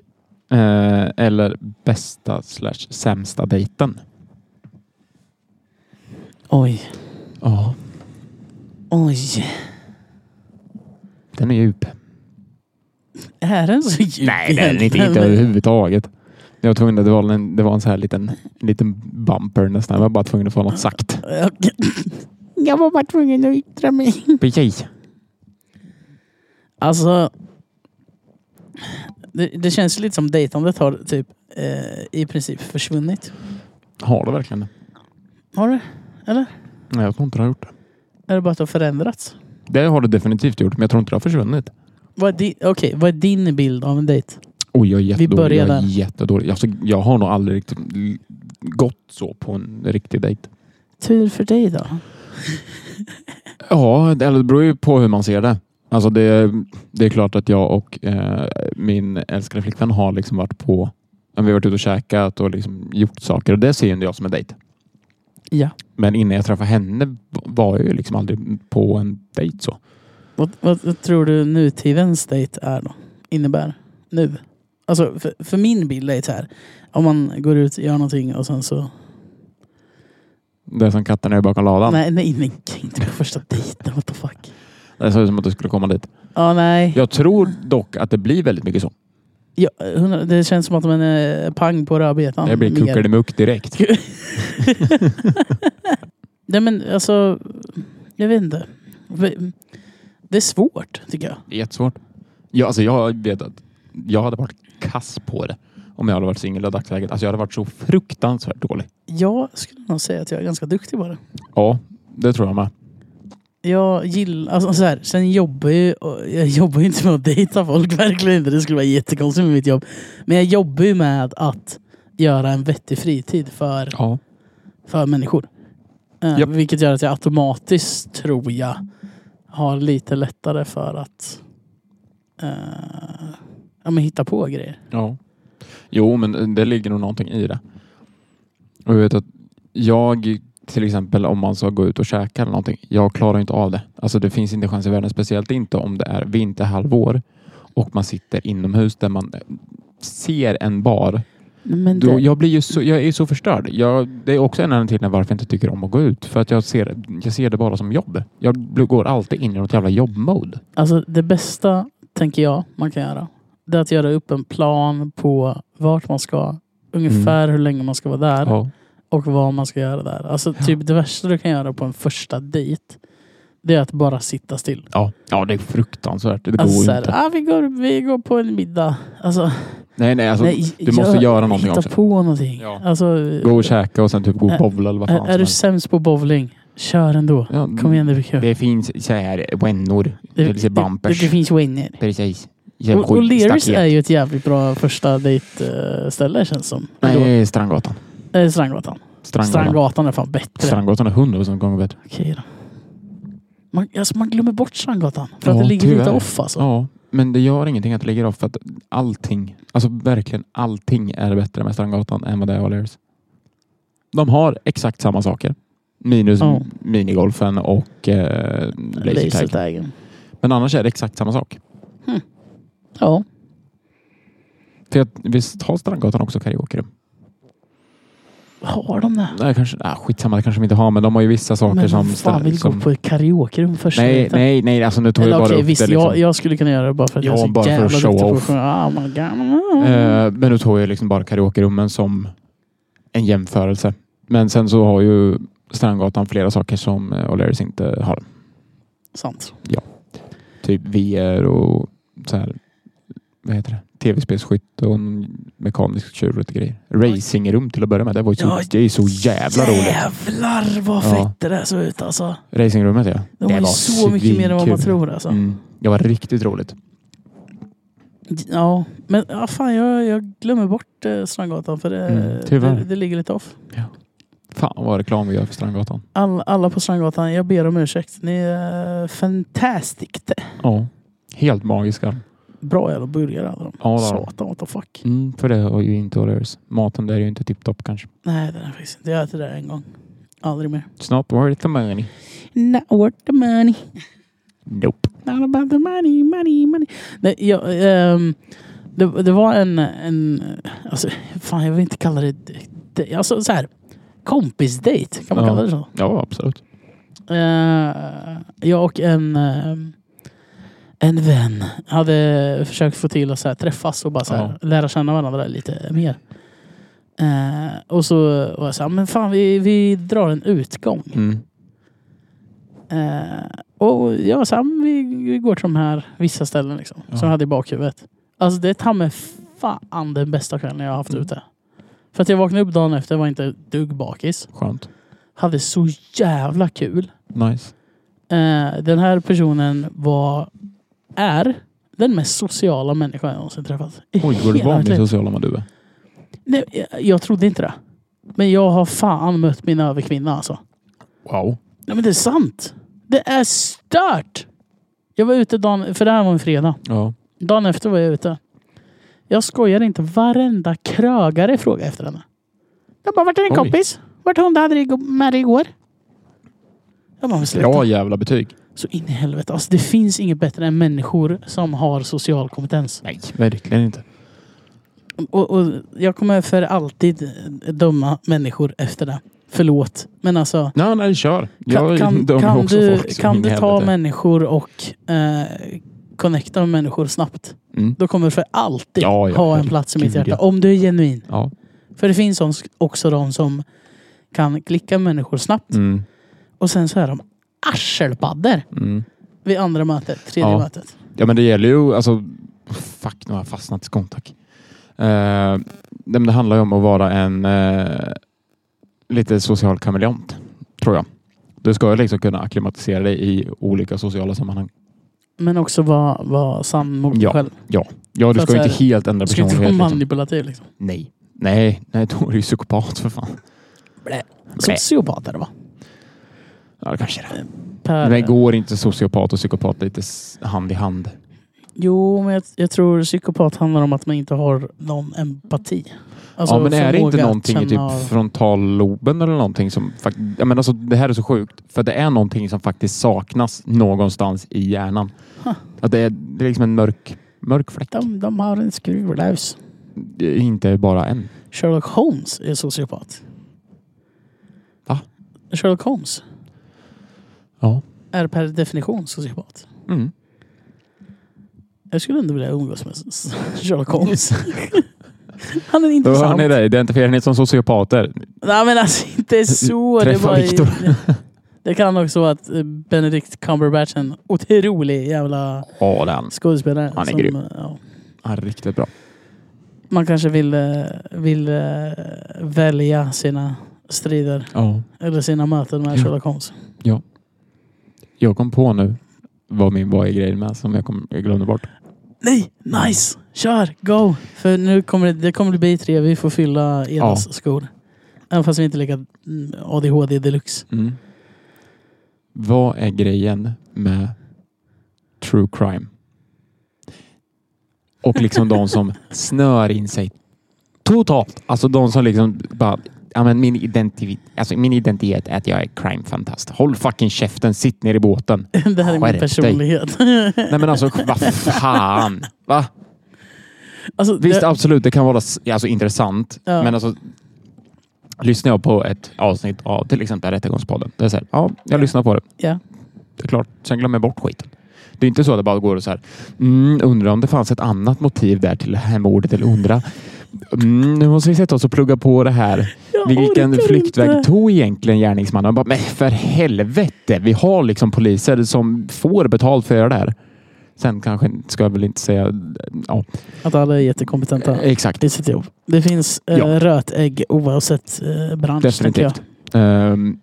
Speaker 2: eh, eller bästa slash sämsta dejten?
Speaker 1: Oj.
Speaker 2: Ja,
Speaker 1: Oj.
Speaker 2: den är djup.
Speaker 1: Är den så djup
Speaker 2: Nej, det är den inte,
Speaker 1: egentligen?
Speaker 2: inte överhuvudtaget. Jag var tvungen att, det var en, det var en så här liten, liten bumper nästan. Jag var bara tvungen att få något sagt.
Speaker 1: Okej. Jag var bara tvungen att yttra mig.
Speaker 2: Precis.
Speaker 1: Alltså. Det, det känns ju lite som dejtandet har typ eh, i princip försvunnit.
Speaker 2: Har du verkligen det?
Speaker 1: Har det? Eller?
Speaker 2: Nej, jag tror inte det har gjort det.
Speaker 1: Är det bara att det har förändrats?
Speaker 2: Det har det definitivt gjort, men jag tror inte det har försvunnit.
Speaker 1: Vad är din, okej, vad är din bild av en dejt?
Speaker 2: Oj, jag är
Speaker 1: Vi
Speaker 2: jättedålig.
Speaker 1: börjar
Speaker 2: jag är
Speaker 1: där.
Speaker 2: jättedålig. Alltså, jag har nog aldrig riktigt l- gått så på en riktig dejt.
Speaker 1: Tur för dig då.
Speaker 2: Ja, det eller det beror ju på hur man ser det. Alltså det, det är klart att jag och eh, min älskade flickvän har liksom varit på ja, vi har varit ute och käkat och liksom gjort saker och det ser ju inte jag som en dejt.
Speaker 1: Ja.
Speaker 2: Men innan jag träffade henne var jag ju liksom aldrig på en dejt så.
Speaker 1: Vad, vad, vad tror du nutidens dejt är då? Innebär? Nu? Alltså för, för min bild är det så här. Om man går ut, gör någonting och sen så...
Speaker 2: Det är som katten är bakom ladan.
Speaker 1: Nej, nej, nej. Inte på första dejten. What the fuck.
Speaker 2: Det såg ut som att du skulle komma dit.
Speaker 1: Ja, nej.
Speaker 2: Jag tror dock att det blir väldigt mycket så.
Speaker 1: Ja, hundra- det känns som att man är eh, pang på rödbetan.
Speaker 2: Det blir
Speaker 1: mer.
Speaker 2: kuckelimuck direkt.
Speaker 1: Nej men alltså, jag vet inte. Det är svårt tycker jag.
Speaker 2: Det är jättesvårt. Jag, alltså, jag vet att jag hade varit kass på det om jag hade varit singel i dagsläget. Alltså, jag hade varit så fruktansvärt dålig.
Speaker 1: Jag skulle nog säga att jag är ganska duktig på det.
Speaker 2: Ja, det tror jag med.
Speaker 1: Jag gillar, alltså så här, sen jobbar ju, och jag jobbar ju inte med att dejta folk, verkligen inte. Det skulle vara jättekonstigt med mitt jobb. Men jag jobbar ju med att göra en vettig fritid för,
Speaker 2: Ja.
Speaker 1: för människor. Eh,
Speaker 2: Japp.
Speaker 1: Vilket gör att jag automatiskt, tror jag, har lite lättare för att eh, ja, men hitta på grejer.
Speaker 2: ja. Jo, men eh, det ligger nog någonting i det. Och jag vet att jag till exempel om man ska gå ut och käka eller någonting. Jag klarar inte av det. Alltså det finns inte chans i världen. Speciellt inte om det är vinterhalvår och man sitter inomhus där man eh, ser en bar
Speaker 1: Men
Speaker 2: Då,
Speaker 1: det,
Speaker 2: jag blir ju så, jag är så förstörd. Jag, det är också en anledning till varför jag inte tycker om att gå ut. För att jag ser, jag ser det bara som jobb. Jag bl- går alltid in i något jävla jobbmode.
Speaker 1: alltså, det bästa, tänker jag, man kan göra det är att göra upp en plan på vart man ska, ungefär hur länge man ska vara där
Speaker 2: Mm. Ja.
Speaker 1: och vad man ska göra där. Alltså typ det värsta du kan göra på en första dejt, det är att bara sitta still.
Speaker 2: Ja. ja, det är fruktansvärt. Det
Speaker 1: Alltså
Speaker 2: går ju
Speaker 1: såhär,
Speaker 2: inte.
Speaker 1: ah, vi, går, vi går på en middag. Alltså,
Speaker 2: Nej, nej, alltså,
Speaker 1: nej,
Speaker 2: du måste
Speaker 1: gör-
Speaker 2: göra någonting
Speaker 1: hitta
Speaker 2: också.
Speaker 1: på någonting.
Speaker 2: Ja.
Speaker 1: Alltså,
Speaker 2: Gå och käka och sen typ gå och bowla eller vad fan
Speaker 1: är, är
Speaker 2: som
Speaker 1: du
Speaker 2: helst.
Speaker 1: sämst på bowling, kör ändå.
Speaker 2: Ja, mm.
Speaker 1: Kom igen, det blir kul.
Speaker 2: Det finns så här wennor. Det, det,
Speaker 1: det,
Speaker 2: bumpers.
Speaker 1: det finns winner.
Speaker 2: Precis.
Speaker 1: Och, och Leris är ju ett jävligt bra första dejtställe känns som. Nej.
Speaker 2: Nej, Strandgatan.
Speaker 1: Strandgatan.
Speaker 2: Strandgatan.
Speaker 1: Strandgatan är fan bättre.
Speaker 2: Strandgatan är hundra som gånger bättre.
Speaker 1: Okej då. Man, alltså man glömmer bort Strandgatan. För att
Speaker 2: Ja,
Speaker 1: det ligger lite
Speaker 2: tyvärr.
Speaker 1: off alltså.
Speaker 2: Ja, men det gör ingenting att det ligger av för att allting, alltså verkligen allting är bättre med Strandgatan än vad det är O'Learys. De har exakt samma saker. Minus
Speaker 1: Ja.
Speaker 2: minigolfen och eh, laser tag.
Speaker 1: Lasertaggen.
Speaker 2: Men annars är det exakt samma sak.
Speaker 1: Ja.
Speaker 2: För att, visst har Strandgatan också karaokerum?
Speaker 1: Har de det?
Speaker 2: Nej, kanske, ah, skitsamma, det kanske de inte har, men de har ju vissa saker
Speaker 1: Men
Speaker 2: som...
Speaker 1: vem fan vill
Speaker 2: som
Speaker 1: gå på ett karaokerum först?
Speaker 2: nej, nej, nej, alltså nu tog
Speaker 1: Eller
Speaker 2: jag bara
Speaker 1: okej,
Speaker 2: upp
Speaker 1: visst.
Speaker 2: det. Liksom.
Speaker 1: jag, jag skulle kunna göra det bara för att
Speaker 2: Ja,
Speaker 1: jag är så
Speaker 2: bara för
Speaker 1: jävla
Speaker 2: att show
Speaker 1: duktig på att
Speaker 2: off.
Speaker 1: sjunga. Oh my God.
Speaker 2: Eh, men nu tog jag liksom bara karaokerummen som en jämförelse. Men sen så har ju Strandgatan flera saker som eh, O'Learys inte har.
Speaker 1: Sant.
Speaker 2: Typ VR och så här, vad heter det? Tv-spelsskytt och en mekanisk tjur och lite grejer. Racingrum till att börja med. Det, var ju så,
Speaker 1: Ja,
Speaker 2: det är ju så jävla roligt.
Speaker 1: Jävlar vad
Speaker 2: Ja.
Speaker 1: fett det där såg ut alltså.
Speaker 2: Racingrummet ja.
Speaker 1: De har ju så mycket mer än vad man
Speaker 2: svinkul.
Speaker 1: tror alltså.
Speaker 2: Mm. Det var riktigt roligt.
Speaker 1: Ja, men ja, fan, jag, jag glömmer bort eh, Strandgatan för det,
Speaker 2: Mm, tyvärr.
Speaker 1: det, det ligger lite off.
Speaker 2: Fan vad reklam vi gör för Strandgatan.
Speaker 1: All, alla på Strandgatan, jag ber om ursäkt. Ni är fantastiskt.
Speaker 2: Ja. Helt magiska.
Speaker 1: Bra jävla burgare hade de.
Speaker 2: Ja, det har de.
Speaker 1: Satan what the fuck.
Speaker 2: Mm, för det har ju inte O'Learys. Maten där är ju inte tipptopp kanske.
Speaker 1: Nej, det är faktiskt inte. Jag äter det där en gång. Aldrig mer.
Speaker 2: It's not worth the money.
Speaker 1: Not worth the money.
Speaker 2: Nope.
Speaker 1: Not about the money, money, money. Nej, jag, ehm, det, det var en, en... Alltså, fan jag vill inte kalla det... det alltså så här. Kompisdejt, kan man
Speaker 2: Ja.
Speaker 1: kalla det så?
Speaker 2: Ja, absolut.
Speaker 1: Eh, jag och en, eh, en vän hade försökt få till att så här, träffas och bara så här, lära känna varandra lite mer. Eh, och så var jag så här, men fan vi, vi drar en utgång.
Speaker 2: Mm.
Speaker 1: Eh, och jag var så här, men vi, vi går till de här vissa ställen liksom, som
Speaker 2: Ja.
Speaker 1: jag hade i bakhuvudet. Alltså det är ta mig fan den bästa kvällen jag har haft
Speaker 2: Mm.
Speaker 1: ute. För att jag vaknade upp dagen efter, var inte ett dugg bakis.
Speaker 2: Skönt.
Speaker 1: Hade så jävla kul.
Speaker 2: Nice.
Speaker 1: Eh, den här personen var, är den mest sociala människan jag någonsin träffat. I
Speaker 2: Oj, vad du
Speaker 1: hela mitt
Speaker 2: vanlig
Speaker 1: liv.
Speaker 2: sociala man du är.
Speaker 1: Nej, jag- jag trodde inte det. Men jag har fan mött min överkvinna alltså.
Speaker 2: Wow.
Speaker 1: Nej men det är sant. Det är stört! Jag var ute dagen, för det här var en fredag.
Speaker 2: Ja.
Speaker 1: Dagen efter var jag ute. Jag skojar inte, varenda krögare frågade efter henne. De bara, vart är din
Speaker 2: Oj.
Speaker 1: kompis? Vart hon du hade dig med dig igår? Jag bara, men sluta.
Speaker 2: Bra jävla betyg.
Speaker 1: Så in i helvete. Alltså det finns inget bättre än människor som har social kompetens.
Speaker 2: Nej, verkligen inte.
Speaker 1: Och, och jag kommer för alltid döma människor efter det. Förlåt. Men alltså.
Speaker 2: Nej, nej, kör.
Speaker 1: Kan,
Speaker 2: Jag
Speaker 1: kan,
Speaker 2: dömer
Speaker 1: kan
Speaker 2: också
Speaker 1: du,
Speaker 2: folk som
Speaker 1: kan
Speaker 2: in i
Speaker 1: du ta
Speaker 2: helvete.
Speaker 1: människor och eh, connecta med människor snabbt.
Speaker 2: Mm.
Speaker 1: Då kommer du för alltid
Speaker 2: Ja, ja,
Speaker 1: ha en plats i mitt
Speaker 2: herregud,
Speaker 1: hjärta. Om du är genuin.
Speaker 2: Ja.
Speaker 1: För det finns sån- också de som kan klicka med människor snabbt.
Speaker 2: Mm.
Speaker 1: Och sen så är de arselpaddor
Speaker 2: Mm.
Speaker 1: vid andra mötet, tredje
Speaker 2: Ja.
Speaker 1: mötet.
Speaker 2: Ja, men det gäller ju... Alltså, fuck, nu har jag fastnat i skontak. Eh, nej, men det handlar ju om att vara en eh, lite social kameleont, tror jag. Du ska ju liksom kunna acklimatisera dig i olika sociala sammanhang.
Speaker 1: Men också vara var sann mot dig
Speaker 2: Ja.
Speaker 1: själv.
Speaker 2: Ja,
Speaker 1: Så
Speaker 2: du
Speaker 1: att
Speaker 2: ska ju
Speaker 1: så
Speaker 2: inte
Speaker 1: här,
Speaker 2: helt ändra
Speaker 1: Du ska inte vara
Speaker 2: personlighet. Liksom.
Speaker 1: manipulativ liksom.
Speaker 2: Nej. Nej, nej, då är du ju psykopat för fan. Nej.
Speaker 1: Sociopat är det va?
Speaker 2: Ja, det kanske är det.
Speaker 1: Per,
Speaker 2: Men går inte sociopat och psykopat lite s- hand i hand?
Speaker 1: Jo, men jag, jag tror psykopat handlar om att man inte har någon empati. Alltså,
Speaker 2: ja, men är det
Speaker 1: förmåga
Speaker 2: inte
Speaker 1: att
Speaker 2: någonting i
Speaker 1: känna-
Speaker 2: typ frontalloben eller någonting som faktiskt... Jag menar, alltså, det här är så sjukt. För det är någonting som faktiskt saknas någonstans i hjärnan.
Speaker 1: Huh.
Speaker 2: Att det, är, det är liksom en mörk, mörk fläck.
Speaker 1: De, de har en skruvlös.
Speaker 2: Det är Inte bara en.
Speaker 1: Sherlock Holmes är sociopat.
Speaker 2: Va?
Speaker 1: Sherlock Holmes
Speaker 2: Ja.
Speaker 1: är per definition sociopat.
Speaker 2: Mm.
Speaker 1: Jag skulle ändå vilja umgås med s- Sherlock Holmes. Han är
Speaker 2: Då hör
Speaker 1: intressant.
Speaker 2: ni det. Identifierar ni som sociopater.
Speaker 1: Nej men alltså inte så.
Speaker 2: Träffa
Speaker 1: var ju-
Speaker 2: Viktor.
Speaker 1: det kan också vara att eh, Benedict Cumberbatch är en otrolig jävla
Speaker 2: Ja, den.
Speaker 1: skådespelare.
Speaker 2: Han är grym.
Speaker 1: eh, ja.
Speaker 2: Ja, riktigt bra.
Speaker 1: Man kanske vill, eh, vill eh, välja sina strider
Speaker 2: Ja.
Speaker 1: eller sina möten med
Speaker 2: Ja.
Speaker 1: Sherlock Holmes.
Speaker 2: Jag kom på nu vad min vad är grejen med som jag, kom, jag glömde bort.
Speaker 1: Nej, nice! Kör, go! För nu kommer det, det kommer bli tre, vi får fylla Edas skor. Även fast vi inte är lika mm, ADHD deluxe.
Speaker 2: Mm. Vad är grejen med true crime? Och liksom de som snör in sig totalt. Alltså de som liksom bara, ja men min, identi- alltså min identitet är att jag är crime-fantast. Håll fucking käften, sitt ner i båten.
Speaker 1: Det här är min
Speaker 2: Skärp dig.
Speaker 1: personlighet.
Speaker 2: Nej men alltså, vad fan. Va?
Speaker 1: alltså, det-
Speaker 2: Visst, absolut. Det kan vara s- alltså, intressant.
Speaker 1: Ja.
Speaker 2: Men alltså, lyssnar jag på ett avsnitt av till exempel Rättegångspodden. Det är så här, ja, jag lyssnar på det.
Speaker 1: Ja.
Speaker 2: Det är klart. Sen glömmer jag bort skiten. Det är inte så att det bara går och så här. Mm, undrar om det fanns ett annat motiv där till det här mordet. Eller undra. Mm, nu måste vi sätta oss och plugga på det här.
Speaker 1: Jag
Speaker 2: Vilken
Speaker 1: orkar
Speaker 2: flyktväg
Speaker 1: inte.
Speaker 2: tog egentligen gärningsmannen? Jag Bara, men för helvete. Vi har liksom poliser som får betalt för att göra det här. Sen kanske, ska jag väl inte säga... Ja,
Speaker 1: Att alla är jättekompetenta
Speaker 2: exakt.
Speaker 1: i sitt jobb. Det finns eh,
Speaker 2: Eh, Ja.
Speaker 1: rötägg oavsett eh, bransch. tänker jag.
Speaker 2: Definitivt. Ehm,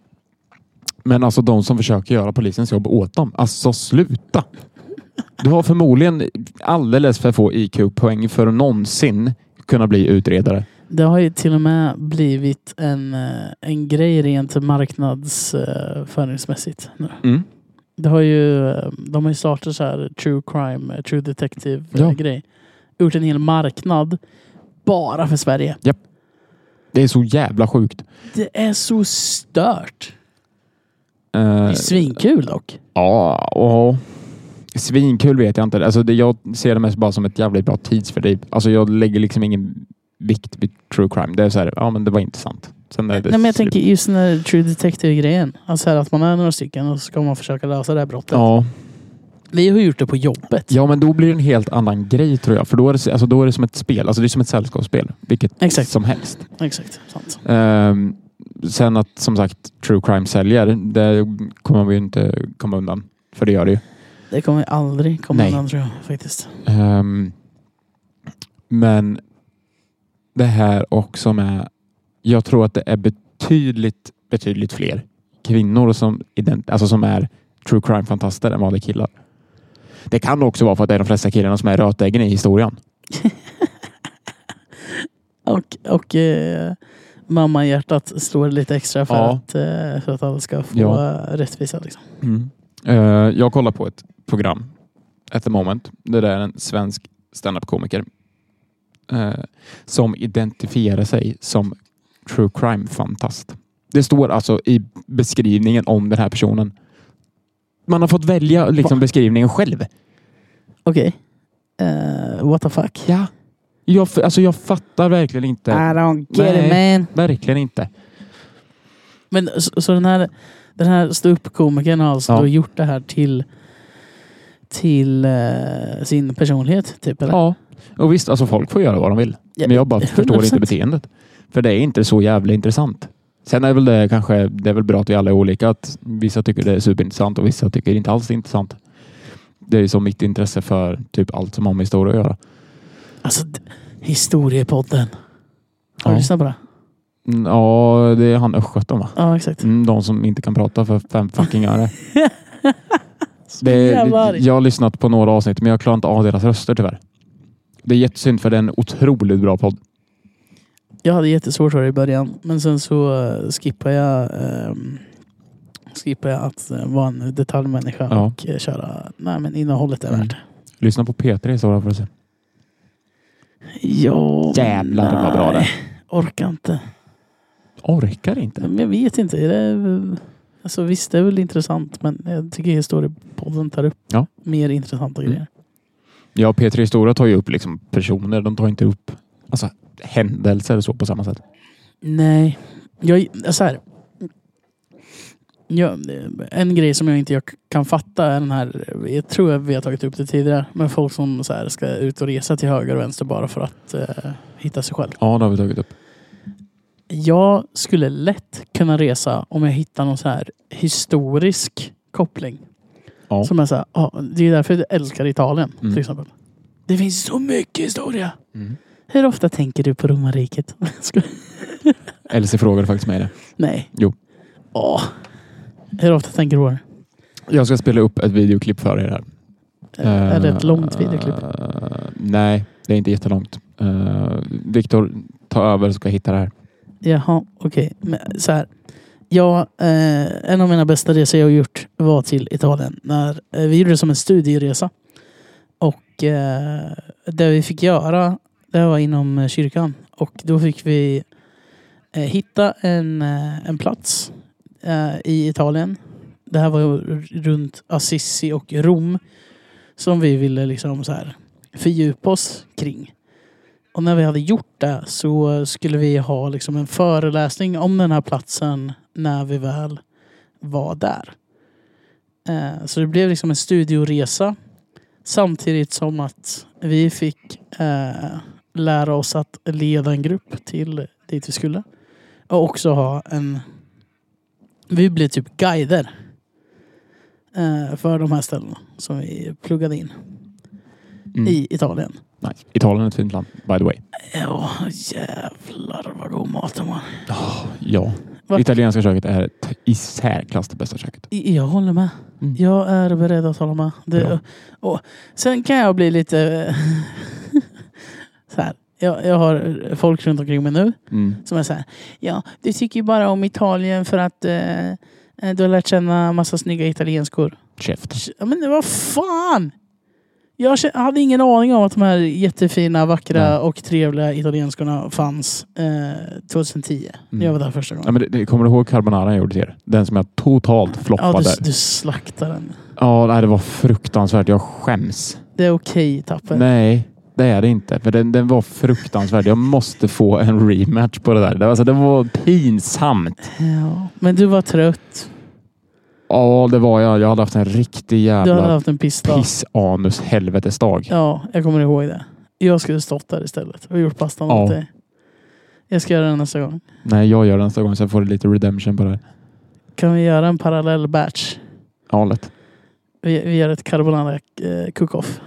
Speaker 2: men alltså de som försöker göra polisens jobb åt dem. Alltså sluta! Du har förmodligen alldeles för få IQ-poäng för att någonsin kunna bli utredare.
Speaker 1: Det har ju till och med blivit en, eh, en grej rent marknadsföringsmässigt. nu.
Speaker 2: Mm.
Speaker 1: Det har ju, eh, de har ju startat så här true crime, eh, true detective eh,
Speaker 2: Ja.
Speaker 1: grej. Gjort en hel marknad bara för Sverige.
Speaker 2: Det är så jävla sjukt.
Speaker 1: Det är så stört. Det
Speaker 2: Uh,
Speaker 1: är svinkul dock.
Speaker 2: ja, och svinkul vet jag inte. Alltså det, jag ser det mest bara som ett jävligt bra tidsfördriv. Alltså jag lägger liksom ingen vikt vid true crime. Det är så här, ja men det var intressant. Sen är det
Speaker 1: Nej, men jag
Speaker 2: slut.
Speaker 1: tänker just den här true detective-grejen. Alltså här att man är några stycken och så ska man försöka lösa det här brottet.
Speaker 2: Ja,
Speaker 1: Vi har gjort det på jobbet.
Speaker 2: Ja, men då blir det en helt annan grej tror jag. För då är det, alltså, då är det som ett spel. Alltså, det är som ett sällskapsspel. Vilket
Speaker 1: Exakt.
Speaker 2: som helst.
Speaker 1: Exakt. Sant.
Speaker 2: Ehm, sen att som sagt true crime säljer, det kommer vi ju inte komma undan. För det gör det ju.
Speaker 1: Det kommer aldrig komma
Speaker 2: Nej.
Speaker 1: undan tror jag faktiskt.
Speaker 2: Ehm, men det här också med... Jag tror att det är betydligt, betydligt fler kvinnor som, ident- alltså som är true crime-fantaster än vanliga killar. Det kan också vara för att det är de flesta killarna som är rötäggen i historien.
Speaker 1: Och, och eh, mamma i hjärtat slår lite extra för,
Speaker 2: Ja.
Speaker 1: att, eh, för att alla ska få
Speaker 2: Ja.
Speaker 1: eh, rättvisa. Liksom.
Speaker 2: Mm. Eh, jag kollar på ett program, At the moment. Det där är en svensk standup-komiker eh, som identifierar sig som true crime-fantast. Det står alltså i beskrivningen om den här personen. Man har fått välja liksom,
Speaker 1: Va?
Speaker 2: beskrivningen själv.
Speaker 1: Okej. Eh, what the fuck?
Speaker 2: Ja. Jag, f- alltså, jag fattar verkligen inte.
Speaker 1: don't
Speaker 2: Nej.
Speaker 1: man.
Speaker 2: Verkligen inte.
Speaker 1: Men så, så den här, den här ståuppkomikern har alltså
Speaker 2: Ja.
Speaker 1: då gjort det här till till eh, sin personlighet typ eller?
Speaker 2: Ja. Och visst, alltså, folk får göra vad de vill. Men jag bara förstår inte
Speaker 1: 100%.
Speaker 2: beteendet. För det är inte så jävla intressant. Sen är väl det kanske, det är väl bra att vi alla är olika. Att vissa tycker det är superintressant och vissa tycker inte alls det är intressant. Det är ju som mitt intresse för typ allt som har med historia att göra.
Speaker 1: Alltså d- historiepodden. Har du
Speaker 2: Ja.
Speaker 1: lyssnat på det?
Speaker 2: Mm, Ja, det är han östgöten va?
Speaker 1: Ja exakt.
Speaker 2: Mm, de som inte kan prata för fem fucking öre.
Speaker 1: Så
Speaker 2: Det
Speaker 1: jävla
Speaker 2: är,
Speaker 1: arg.
Speaker 2: jag har lyssnat på några avsnitt men jag klarar inte av deras röster tyvärr. Det är jättesynd för det är en otroligt bra podd.
Speaker 1: Jag hade jättesvårt för det i början, men sen så eh, skippade jag, ehm, skippade jag att eh, vara en detaljmänniska
Speaker 2: Ja.
Speaker 1: och eh, köra nej, men innehållet är
Speaker 2: Mm.
Speaker 1: värt.
Speaker 2: Lyssna på P3 i så fall för att se.
Speaker 1: Ja,
Speaker 2: Jävlar vad bra det
Speaker 1: nej.
Speaker 2: är.
Speaker 1: Orkar inte.
Speaker 2: Orkar inte.
Speaker 1: Men jag vet inte. Det är, väl- alltså, visst, det är väl intressant, men jag tycker historiepodden tar upp
Speaker 2: Ja.
Speaker 1: mer intressanta
Speaker 2: Mm.
Speaker 1: grejer.
Speaker 2: Ja, P3 Stora tar ju upp liksom personer. De tar inte upp alltså, händelser och så på samma sätt.
Speaker 1: Nej, jag, så här. jag, en grej som jag inte jag kan fatta är den här, jag tror att vi har tagit upp det tidigare, men folk som så här ska ut och resa till höger och vänster bara för att eh, hitta sig själv.
Speaker 2: Ja, det har vi tagit upp.
Speaker 1: Jag skulle lätt kunna resa om jag hittar någon så här historisk koppling.
Speaker 2: Ja.
Speaker 1: Som är så här, ja, det är därför jag älskar Italien
Speaker 2: Mm.
Speaker 1: till exempel. Det finns så mycket historia. Hur ofta tänker du på romarriket? Ska-
Speaker 2: Elsie frågade faktiskt mig det.
Speaker 1: Nej.
Speaker 2: Jo.
Speaker 1: Åh. Hur ofta tänker du på det?
Speaker 2: Jag ska spela upp ett videoklipp för er här.
Speaker 1: Är det ett
Speaker 2: Eh,
Speaker 1: långt videoklipp?
Speaker 2: eh, nej, det är inte jättelångt. Uh, Viktor, ta över så ska jag hitta det här.
Speaker 1: Jaha, okej. Men Så här. Jag, eh, en av mina bästa resor jag gjort var till Italien. När, eh, vi gjorde det som en studieresa. Och eh, det vi fick göra, det var inom eh, kyrkan. Och då fick vi eh, hitta en, eh, en plats eh, i Italien. Det här var ju r- runt Assisi och Rom. Som vi ville liksom så här fördjupa oss kring. Och när vi hade gjort det så skulle vi ha liksom en föreläsning om den här platsen när vi väl var där. Eh, Så det blev liksom en studioresa samtidigt som att vi fick eh, lära oss att leda en grupp till dit vi skulle. Och också ha en... Vi blev typ guider eh, för de här ställena som vi pluggade in
Speaker 2: Mm.
Speaker 1: i Italien.
Speaker 2: Nej, Italien är ett fint land, by the way.
Speaker 1: Ja, jävlar vad god mat de har.
Speaker 2: Ja.
Speaker 1: Va?
Speaker 2: Italienska köket är t- i särklass det bästa köket.
Speaker 1: I- Jag håller med.
Speaker 2: Mm.
Speaker 1: Jag är beredd att hålla med.
Speaker 2: Bra.
Speaker 1: Det, och, sen kan jag bli lite... eh, så här. Jag, jag har folk runt omkring mig nu
Speaker 2: Mm.
Speaker 1: som är så här. Ja, du tycker ju bara om Italien för att eh, du har lärt känna massa snygga italienskor.
Speaker 2: Käft.
Speaker 1: Ja, Men vad fan! Jag kä- hade ingen aning om att de här jättefina, vackra
Speaker 2: Nej.
Speaker 1: och trevliga italienskorna fanns eh, 2010.
Speaker 2: Mm.
Speaker 1: När jag var där första gången.
Speaker 2: Ja, men det, det, kommer du ihåg carbonara jag gjorde till er? Den som jag totalt
Speaker 1: Ja,
Speaker 2: floppade.
Speaker 1: du, du slaktar den.
Speaker 2: Ja, nej, det var fruktansvärt. Jag skäms.
Speaker 1: Det är okej, Tapper.
Speaker 2: Nej, det är det inte. För den, den var fruktansvärd. Jag måste få en rematch på det där. Det, var- alltså, det var pinsamt.
Speaker 1: Ja. Men du var trött.
Speaker 2: Ja, det var jag. Jag hade haft en riktig
Speaker 1: Du hade
Speaker 2: jävla
Speaker 1: haft en pissdag.
Speaker 2: piss-anus-helvetesdag.
Speaker 1: Ja, jag kommer ihåg det. Jag skulle stått där istället och gjort pastan
Speaker 2: Ja.
Speaker 1: åt dig. Jag ska göra det nästa gång.
Speaker 2: Nej, jag gör det nästa gång så jag får lite redemption på det här.
Speaker 1: Kan vi göra en parallell batch?
Speaker 2: Ja, lätt.
Speaker 1: Vi, vi gör ett carbonara eh, cook-off.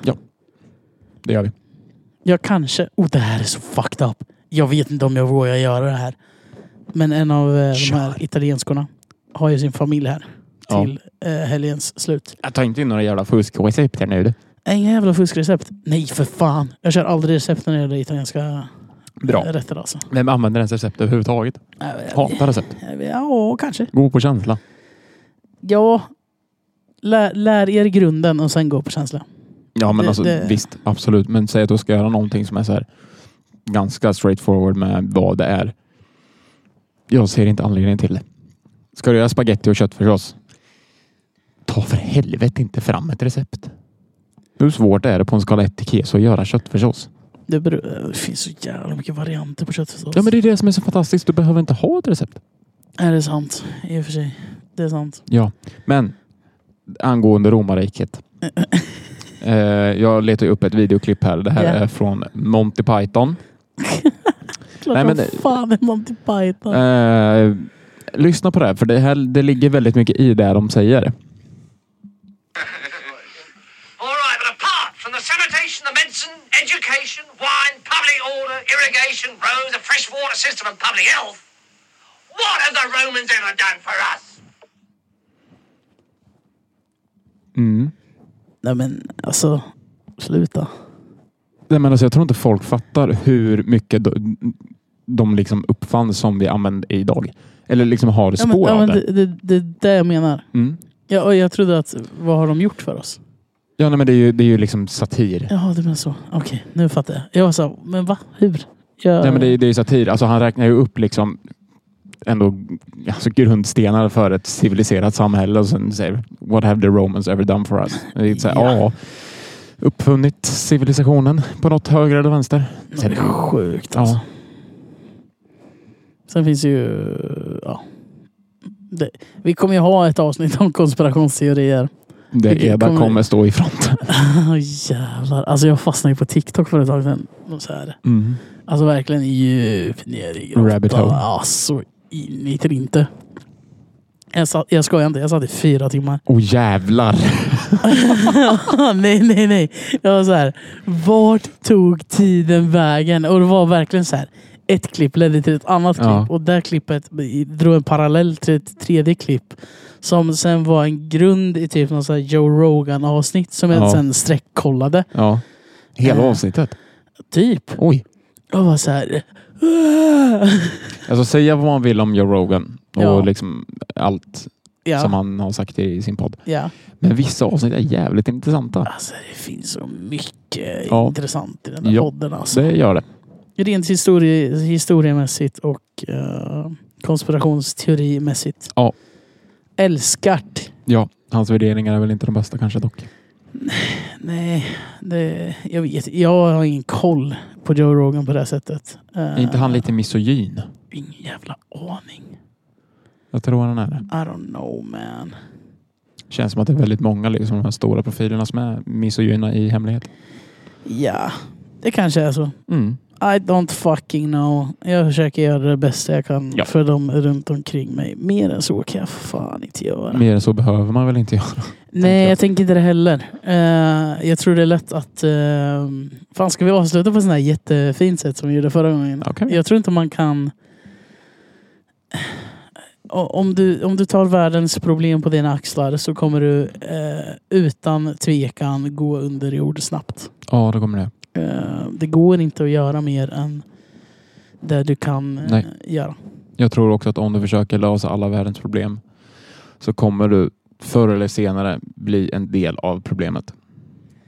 Speaker 2: Det gör vi.
Speaker 1: Jag kanske... Oh, det här är så fucked up. Jag vet inte om jag vågar göra det här. Men en av eh, de här
Speaker 2: Kör.
Speaker 1: italienskorna har ju sin familj här
Speaker 2: Ja.
Speaker 1: till eh, helgens slut.
Speaker 2: Jag tar inte in några jävla fuskrecepter nu. du.
Speaker 1: Inga jävla fuskrecept. Nej för fan. Jag kör aldrig recept när det gäller italienska
Speaker 2: Bra.
Speaker 1: rätter alltså.
Speaker 2: Vem använder ens recept överhuvudtaget? Hatar recept.
Speaker 1: Ja, kanske.
Speaker 2: Gå på känsla.
Speaker 1: Ja. Lär, lär er grunden och sen gå på känsla.
Speaker 2: Ja, men
Speaker 1: Det-
Speaker 2: alltså,
Speaker 1: det-
Speaker 2: visst, absolut. Men säg att du ska göra någonting som är så här ganska straightforward med vad det är. Jag ser inte anledningen till det. Ska du göra spaghetti och köttfärssås? Ta för helvete inte fram ett recept. Hur svårt är det på en skala 1 till keso att göra köttfärssås?
Speaker 1: Det, beror, det finns så jävla mycket varianter på köttfärssås.
Speaker 2: Ja, men det är det som är så fantastiskt. Du behöver inte ha ett recept.
Speaker 1: Är det sant? I och för sig. Det är sant.
Speaker 2: Ja, men angående romarriket. eh, jag letar ju upp ett videoklipp här. Det här
Speaker 1: Ja.
Speaker 2: är från Monty Python.
Speaker 1: Klart
Speaker 2: Nej,
Speaker 1: Nej,
Speaker 2: men
Speaker 1: men
Speaker 2: det-
Speaker 1: fan är Monty Python.
Speaker 2: Eh, lyssna på det här, för det, här, det ligger väldigt mycket i det de säger.
Speaker 3: All right, but apart from the sanitation, the medicine, education, wine, public order, irrigation, roads, a fresh water system, and public health, what have the Romans ever done for us?
Speaker 1: Nej men alltså. Sluta.
Speaker 2: Nej, men alltså, jag tror inte folk fattar hur mycket de, de liksom uppfann som vi använder idag. Eller liksom har
Speaker 1: Ja, men,
Speaker 2: spår
Speaker 1: ja,
Speaker 2: av
Speaker 1: men
Speaker 2: det.
Speaker 1: det, det, det är det jag menar.
Speaker 2: Mm.
Speaker 1: Ja, och jag trodde att, vad har de gjort för oss?
Speaker 2: Ja, nej, men det är ju, det är ju liksom satir.
Speaker 1: Jaha, det menar så. Okej, nu fattar jag. Jag var så, här, men va? Hur? Jag,
Speaker 2: Nej, men det, är- det är ju satir. Alltså, han räknar ju upp liksom ändå alltså, grundstenar för ett civiliserat samhälle och sen säger What have the Romans ever done for us? Det är så här,
Speaker 1: Ja.
Speaker 2: ja. Uppfunnit civilisationen på något höger eller vänster.
Speaker 1: Det är
Speaker 2: alltså.
Speaker 1: sjukt alltså.
Speaker 2: Ja.
Speaker 1: Sen finns det ju ja, Det, vi kommer ju ha ett avsnitt om konspirationsteorier.
Speaker 2: Det
Speaker 1: Vilket
Speaker 2: Eda
Speaker 1: kommer-
Speaker 2: kommer... stå i fronten.
Speaker 1: Åh jävlar. Alltså jag fastnade ju på TikTok för ett tag sedan. Och Så här.
Speaker 2: Mm.
Speaker 1: Alltså verkligen djupt ner i grottan.
Speaker 2: Rabbit hole.
Speaker 1: Ja, så in i inte. Jag, satt, jag skojar inte, jag satt i fyra timmar.
Speaker 2: Oh jävlar!
Speaker 1: nej, nej, nej. Jag var så här. Vart tog tiden vägen? Och det var verkligen så här. Ett klipp ledde till ett annat klipp
Speaker 2: Ja.
Speaker 1: och det klippet drog en parallell till ett tredje klipp. Som sen var en grund i typ någon så här Joe Rogan avsnitt som jag
Speaker 2: Ja.
Speaker 1: sen streckkollade.
Speaker 2: Ja. Hela
Speaker 1: Eh.
Speaker 2: avsnittet.
Speaker 1: Typ.
Speaker 2: Äh. Oj.
Speaker 1: Jag var så här.
Speaker 2: Alltså säga vad man vill om Joe Rogan och
Speaker 1: Ja.
Speaker 2: liksom allt som
Speaker 1: ja,
Speaker 2: han har sagt i sin podd.
Speaker 1: ja.
Speaker 2: Men vissa avsnitt är jävligt intressanta.
Speaker 1: Alltså det finns så mycket
Speaker 2: Ja.
Speaker 1: intressant i den här
Speaker 2: Ja.
Speaker 1: podden. Alltså.
Speaker 2: Det gör det.
Speaker 1: Rent historie, historiemässigt och uh, konspirationsteorimässigt.
Speaker 2: Ja.
Speaker 1: Älskart.
Speaker 2: Ja, hans värderingar är väl inte de bästa kanske dock.
Speaker 1: Nej, det, jag vet Jag har ingen koll på Joe Rogan på det här sättet. Eh,
Speaker 2: Är inte han lite misogyn?
Speaker 1: Ingen jävla aning.
Speaker 2: Jag tror han är det.
Speaker 1: I don't know man.
Speaker 2: Känns som att det är väldigt många liksom, de här stora profilerna som är misogyna i hemlighet.
Speaker 1: Ja, det kanske är så.
Speaker 2: Mm.
Speaker 1: I don't fucking know. Jag försöker göra det bästa jag kan
Speaker 2: Ja.
Speaker 1: för dem runt omkring mig. Mer än så kan jag fan inte göra.
Speaker 2: Mer än så behöver man väl inte göra.
Speaker 1: Nej,
Speaker 2: jag.
Speaker 1: jag tänker inte det heller. Eh, jag tror det är lätt att... eh, fan, ska vi avsluta på sån här jättefint sätt som vi gjorde förra gången?
Speaker 2: Okej.
Speaker 1: Jag tror inte man kan... O- Om du, om du tar världens problem på dina axlar så kommer du eh, utan tvekan gå under jord snabbt.
Speaker 2: Ja, då kommer det.
Speaker 1: Eh, det går inte att göra mer än det du kan eh,
Speaker 2: Nej.
Speaker 1: göra.
Speaker 2: Jag tror också att om du försöker lösa alla världens problem så kommer du förr eller senare bli en del av problemet.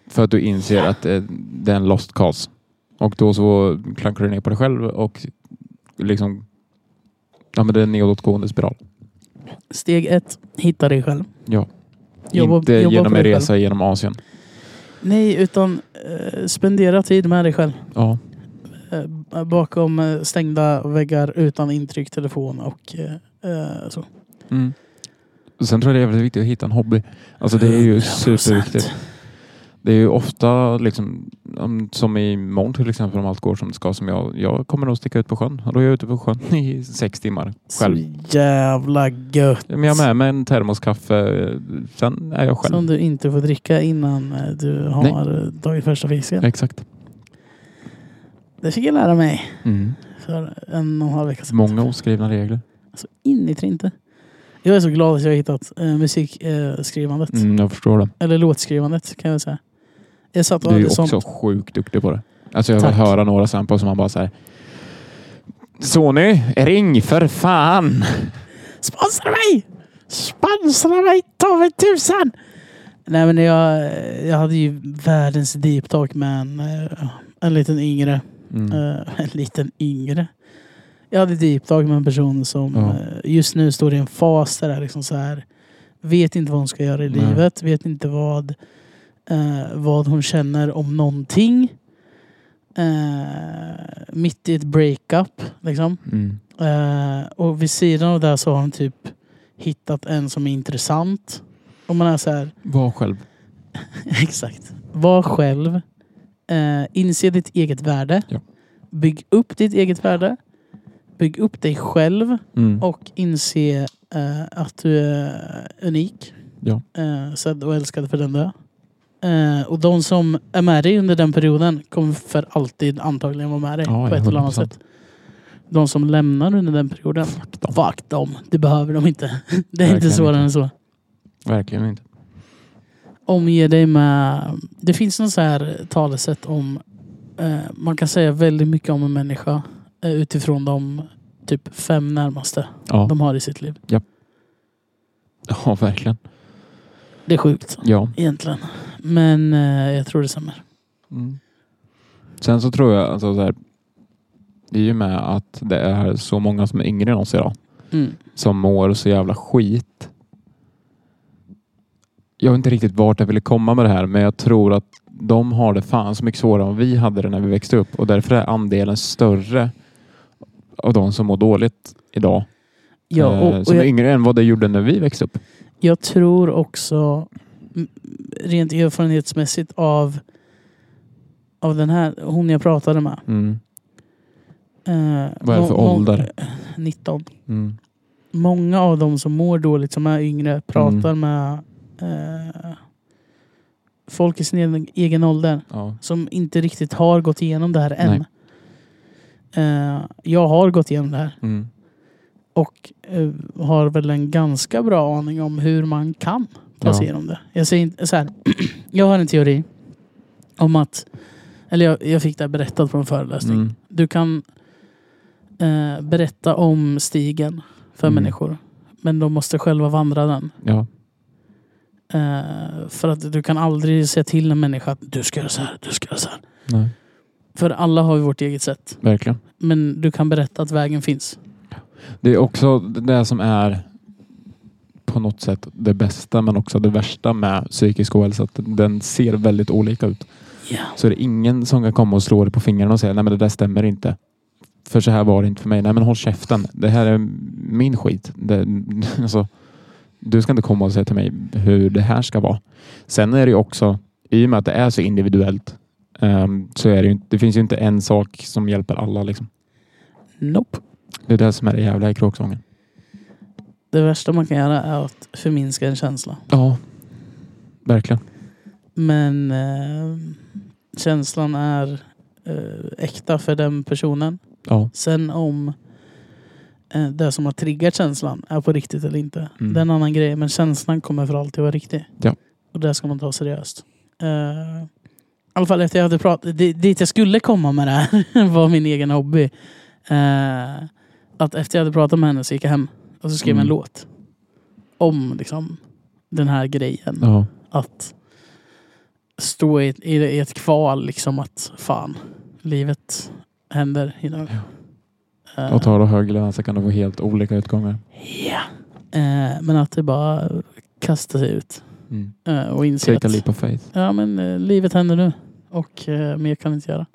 Speaker 2: För att du inser att eh, det är en lost cause. Och då så klankar du ner på dig själv och liksom... Ja, men det är en nedåtgående spiral.
Speaker 1: Steg ett, hitta dig själv.
Speaker 2: Ja.
Speaker 1: Jobba-
Speaker 2: inte
Speaker 1: jobba
Speaker 2: genom
Speaker 1: för
Speaker 2: en
Speaker 1: dig
Speaker 2: resa genom Asien.
Speaker 1: Nej, utan eh, spendera tid med dig själv.
Speaker 2: Ja,
Speaker 1: eh, bakom eh, stängda väggar utan intryck, telefon och eh, eh, så.
Speaker 2: Mm. Och Sen tror jag det är väldigt viktigt att hitta en hobby. Alltså det är ju
Speaker 1: 100%.
Speaker 2: superviktigt. Det är ju ofta liksom, om- som i morgon till exempel om allt går som det ska, som jag, jag kommer nog sticka ut på sjön. Och då är jag ute på sjön i sex timmar själv.
Speaker 1: Så jävla gött.
Speaker 2: Men jag har med mig en termoskaffe, sen är jag själv.
Speaker 1: Som du inte får dricka innan eh, du har eh, tagit första fisken.
Speaker 2: Exakt.
Speaker 1: Det fick jag lära mig
Speaker 2: Mm.
Speaker 1: för en och en halv vecka sedan.
Speaker 2: Många oskrivna regler.
Speaker 1: Så in i inte. Jag är så glad att jag har hittat eh, musikskrivandet.
Speaker 2: Mm, jag förstår det.
Speaker 1: Eller låtskrivandet kan jag säga. Jag satt
Speaker 2: Du
Speaker 1: och
Speaker 2: är ju
Speaker 1: hade
Speaker 2: också
Speaker 1: sånt.
Speaker 2: sjukt duktig på det. Alltså jag vill
Speaker 1: Tack.
Speaker 2: höra några samples som man bara säger. Sony, ring för fan!
Speaker 1: Sponsra mig! Sponsra mig! Ta mig tusan! Nej men jag, jag hade ju världens deep talk med en, eh, en liten yngre.
Speaker 2: Mm.
Speaker 1: eh, En liten yngre. Jag hade deep talk med en person som
Speaker 2: Ja.
Speaker 1: eh, just nu står i en fas där det är liksom så här. Vet inte vad hon ska göra i
Speaker 2: Nej.
Speaker 1: livet. Vet inte vad, eh, vad hon känner om någonting. Eh, mitt i ett breakup. Liksom.
Speaker 2: Mm.
Speaker 1: Eh, och vid sidan av det här så har han typ hittat en som är intressant. Och man är så här,
Speaker 2: Var själv.
Speaker 1: exakt. Var själv. Eh, inse ditt eget värde.
Speaker 2: Ja.
Speaker 1: Bygg upp ditt eget värde. Bygg upp dig själv
Speaker 2: Mm.
Speaker 1: och inse eh, att du är unik.
Speaker 2: Ja.
Speaker 1: Eh, sedd och älskad för den du är. Eh, och de som är med dig under den perioden kommer för alltid antagligen vara med dig
Speaker 2: Ja,
Speaker 1: på
Speaker 2: ja,
Speaker 1: ett eller annat
Speaker 2: 100%.
Speaker 1: sätt. De som lämnar under den perioden
Speaker 2: Fuck dem.
Speaker 1: Fuck dem. Du behöver dem inte. Det är inte
Speaker 2: Verkligen
Speaker 1: svårare
Speaker 2: inte.
Speaker 1: än så.
Speaker 2: Verkligen inte.
Speaker 1: Omge dig med... Det finns något så här talesätt om... Eh, man kan säga väldigt mycket om en människa eh, utifrån de typ fem närmaste
Speaker 2: Ja,
Speaker 1: de har i sitt liv.
Speaker 2: ja verkligen.
Speaker 1: Det är sjukt
Speaker 2: Ja.
Speaker 1: egentligen. Men eh, jag tror det stämmer.
Speaker 2: Mm. Sen så tror jag, alltså, så här, i och med att det är så många som är yngre än oss idag,
Speaker 1: Mm.
Speaker 2: som mår så jävla skit. Jag vet inte riktigt vart jag ville komma med det här, men jag tror att de har det fan så mycket svårare än vi hade det när vi växte upp och därför är andelen större av de som mår dåligt idag
Speaker 1: Ja,
Speaker 2: eh,
Speaker 1: och, och
Speaker 2: som är
Speaker 1: jag,
Speaker 2: yngre än vad det gjorde när vi växte upp.
Speaker 1: jag tror också mm, rent erfarenhetsmässigt av, av den här, hon jag pratade med.
Speaker 2: Mm.
Speaker 1: Eh,
Speaker 2: Vad är det för
Speaker 1: må- må-
Speaker 2: ålder?
Speaker 1: 19.
Speaker 2: Mm.
Speaker 1: Många av dem som mår dåligt, som är yngre, pratar med eh, folk i sin egen, egen ålder.
Speaker 2: Ja.
Speaker 1: Som inte riktigt har gått igenom det här än.
Speaker 2: Nej.
Speaker 1: Eh, jag har gått igenom det här.
Speaker 2: Mm.
Speaker 1: Och eh, har väl en ganska bra aning om hur man kan ta sig
Speaker 2: Ja.
Speaker 1: igenom det. Jag säger inte, så här, jag har en teori om att, eller jag, jag fick det här berättat på en föreläsning.
Speaker 2: Mm.
Speaker 1: Du kan eh, berätta om stigen för
Speaker 2: Mm.
Speaker 1: människor. Men de måste själva vandra den.
Speaker 2: Ja.
Speaker 1: Eh, för att du kan aldrig säga till en människa att du ska göra så här, du ska göra så här.
Speaker 2: Nej.
Speaker 1: För alla har ju vårt eget sätt.
Speaker 2: Verkligen.
Speaker 1: Men du kan berätta att vägen finns.
Speaker 2: Det är också det som är på något sätt det bästa men också det värsta med psykisk ohälsa. Att den ser väldigt olika ut.
Speaker 1: Ja.
Speaker 2: Så är det ingen som kan komma och slå dig på fingrarna och säga nej men det där stämmer inte. För så här var det inte för mig. Nej men håll käften. Det här är min skit. Det, alltså, du ska inte komma och säga till mig hur det här ska vara. Sen är det ju också, i och med att det är så individuellt, ehm, så är det ju, inte- det finns ju inte en sak som hjälper alla. Liksom.
Speaker 1: Nope.
Speaker 2: Det är det som är det jävla i kråksången.
Speaker 1: Det värsta man kan göra är att förminska en känsla.
Speaker 2: Ja, verkligen.
Speaker 1: Men eh, känslan är eh, äkta för den personen.
Speaker 2: Ja,
Speaker 1: Sen om eh, det som har triggat känslan är på riktigt eller inte.
Speaker 2: Mm.
Speaker 1: Det är en annan grej. Men känslan kommer för alltid vara riktig.
Speaker 2: Ja.
Speaker 1: Och det ska man ta seriöst. Eh, I alla fall efter jag hade pratat. di- Dit jag skulle komma med det här var min egen hobby. Eh, att efter jag hade pratat med henne så gick jag hem. Och så skrev jag en
Speaker 2: Mm.
Speaker 1: låt. Om liksom den här grejen
Speaker 2: ja,
Speaker 1: att stå i ett, i, i ett kval liksom att fan, livet händer. You know. Eh,
Speaker 2: och tar du hög lön så kan du få helt olika utgångar.
Speaker 1: ja. Eh, men att det bara kasta sig ut
Speaker 2: Mm.
Speaker 1: eh, och inse
Speaker 2: Take a
Speaker 1: att
Speaker 2: leap of faith.
Speaker 1: ja, men, eh, livet händer nu och eh, mer kan vi inte göra.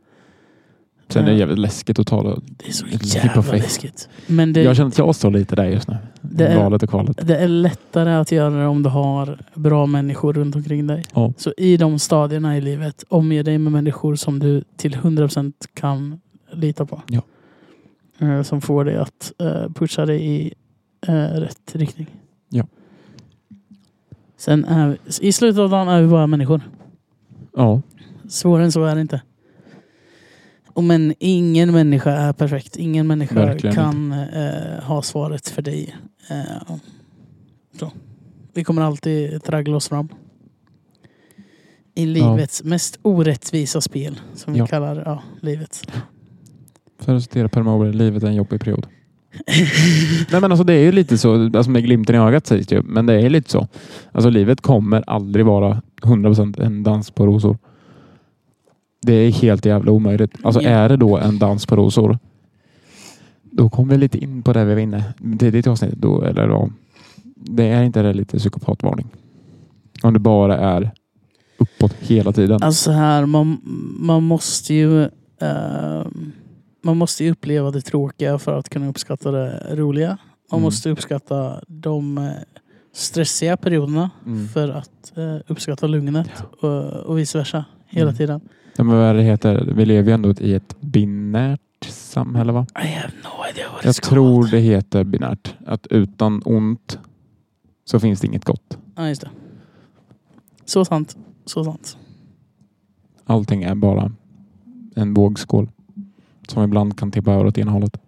Speaker 2: Sen är det
Speaker 1: Ja.
Speaker 2: jävligt läskigt att tala.
Speaker 1: Det är så
Speaker 2: Ett leap
Speaker 1: jävla
Speaker 2: of faith.
Speaker 1: läskigt. Men det,
Speaker 2: Jag känner att jag står lite där just nu.
Speaker 1: Det är-
Speaker 2: Valet och kvalet.
Speaker 1: det är lättare att göra det om du har bra människor runt omkring dig.
Speaker 2: Ja.
Speaker 1: Så i de stadierna i livet, omge dig med människor som du till 100% kan lita på.
Speaker 2: Ja.
Speaker 1: Eh, Som får dig att eh, pusha dig i eh, rätt riktning.
Speaker 2: Ja.
Speaker 1: Sen är vi, i slutet av dagen är vi bara människor.
Speaker 2: Ja,
Speaker 1: Svårare än så är det inte. Och men ingen människa är perfekt. Ingen människa
Speaker 2: Verkligen
Speaker 1: kan eh, ha svaret för dig. Eh, så. Vi kommer alltid traggla oss fram. I
Speaker 2: Ja.
Speaker 1: livets mest orättvisa spel, som vi
Speaker 2: Ja.
Speaker 1: kallar ja, livet.
Speaker 2: för att citera Per Morberg, livet är en jobbig period. Nej men alltså det är ju lite så, alltså med glimten i ögat sägs det ju, men det är lite så. Alltså livet kommer aldrig vara 100% en dans på rosor. Det är helt jävla omöjligt. Alltså
Speaker 1: Ja.
Speaker 2: är det då en dans på rosor, då kommer vi lite in på det vi var inne tidigt i avsnittet. Då, eller då, det är inte det lite psykopatvarning? Om det bara är uppåt hela tiden.
Speaker 1: Alltså så här, man, man måste ju eh, man måste ju uppleva det tråkiga för att kunna uppskatta det roliga. Man
Speaker 2: Mm.
Speaker 1: måste uppskatta de eh, stressiga perioderna
Speaker 2: Mm.
Speaker 1: för att eh, uppskatta lugnet och, och vice versa hela
Speaker 2: Mm.
Speaker 1: tiden.
Speaker 2: Ja, men vad det heter, vi lever ju ändå i ett binärt samhälle va?
Speaker 1: I have no idea what
Speaker 2: Jag
Speaker 1: it's called.
Speaker 2: tror det heter binärt. Att utan ont så finns det inget gott.
Speaker 1: Ja, just det. Så sant. Så sant.
Speaker 2: Allting är bara en vågskål. Som ibland kan tippa över åt ena hållet.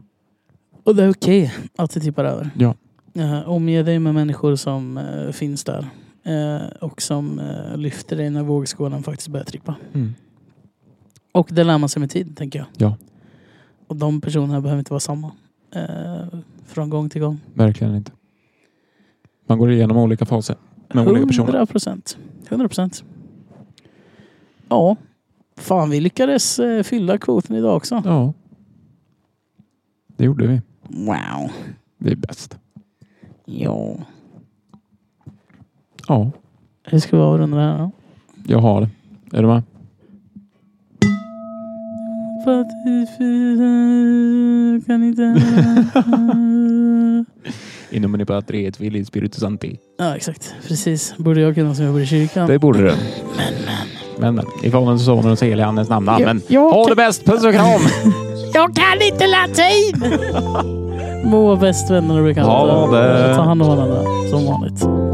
Speaker 1: Och det är okej att det tippar över.
Speaker 2: Ja.
Speaker 1: Eh, omge dig med människor som eh, finns där. eh, och som eh, lyfter dig när vågskålen faktiskt börjar trippa. Och det lär man sig med tid, tänker jag.
Speaker 2: Ja.
Speaker 1: Och de personerna behöver inte vara samma. Eh, från gång till gång.
Speaker 2: Verkligen inte. Man går igenom olika faser. Med olika personer.
Speaker 1: procent. 100 procent. Ja. Fan, vi lyckades eh, fylla kvoten idag också.
Speaker 2: Ja. Det gjorde vi.
Speaker 1: Wow.
Speaker 2: Vi är bäst.
Speaker 1: Ja.
Speaker 2: Ja,
Speaker 1: Hur ska vi avrunda det här då?
Speaker 2: jag har det. Är du med?
Speaker 1: För att vi fyra kan inte...
Speaker 2: Inom en patreet villi spiritus anti.
Speaker 1: ja, exakt. Precis. Borde jag kunna som jag bor i kyrkan.
Speaker 2: Det borde du. Men men. I förhållande till Sonens heliga Andens namn. Amen.
Speaker 1: jag
Speaker 2: Ha
Speaker 1: kan-
Speaker 2: det bäst! Puss och kram!
Speaker 1: Jag kan inte latin! Må bäst vänner och bekanta.
Speaker 2: Ha det.
Speaker 1: Ta hand om varandra, som vanligt.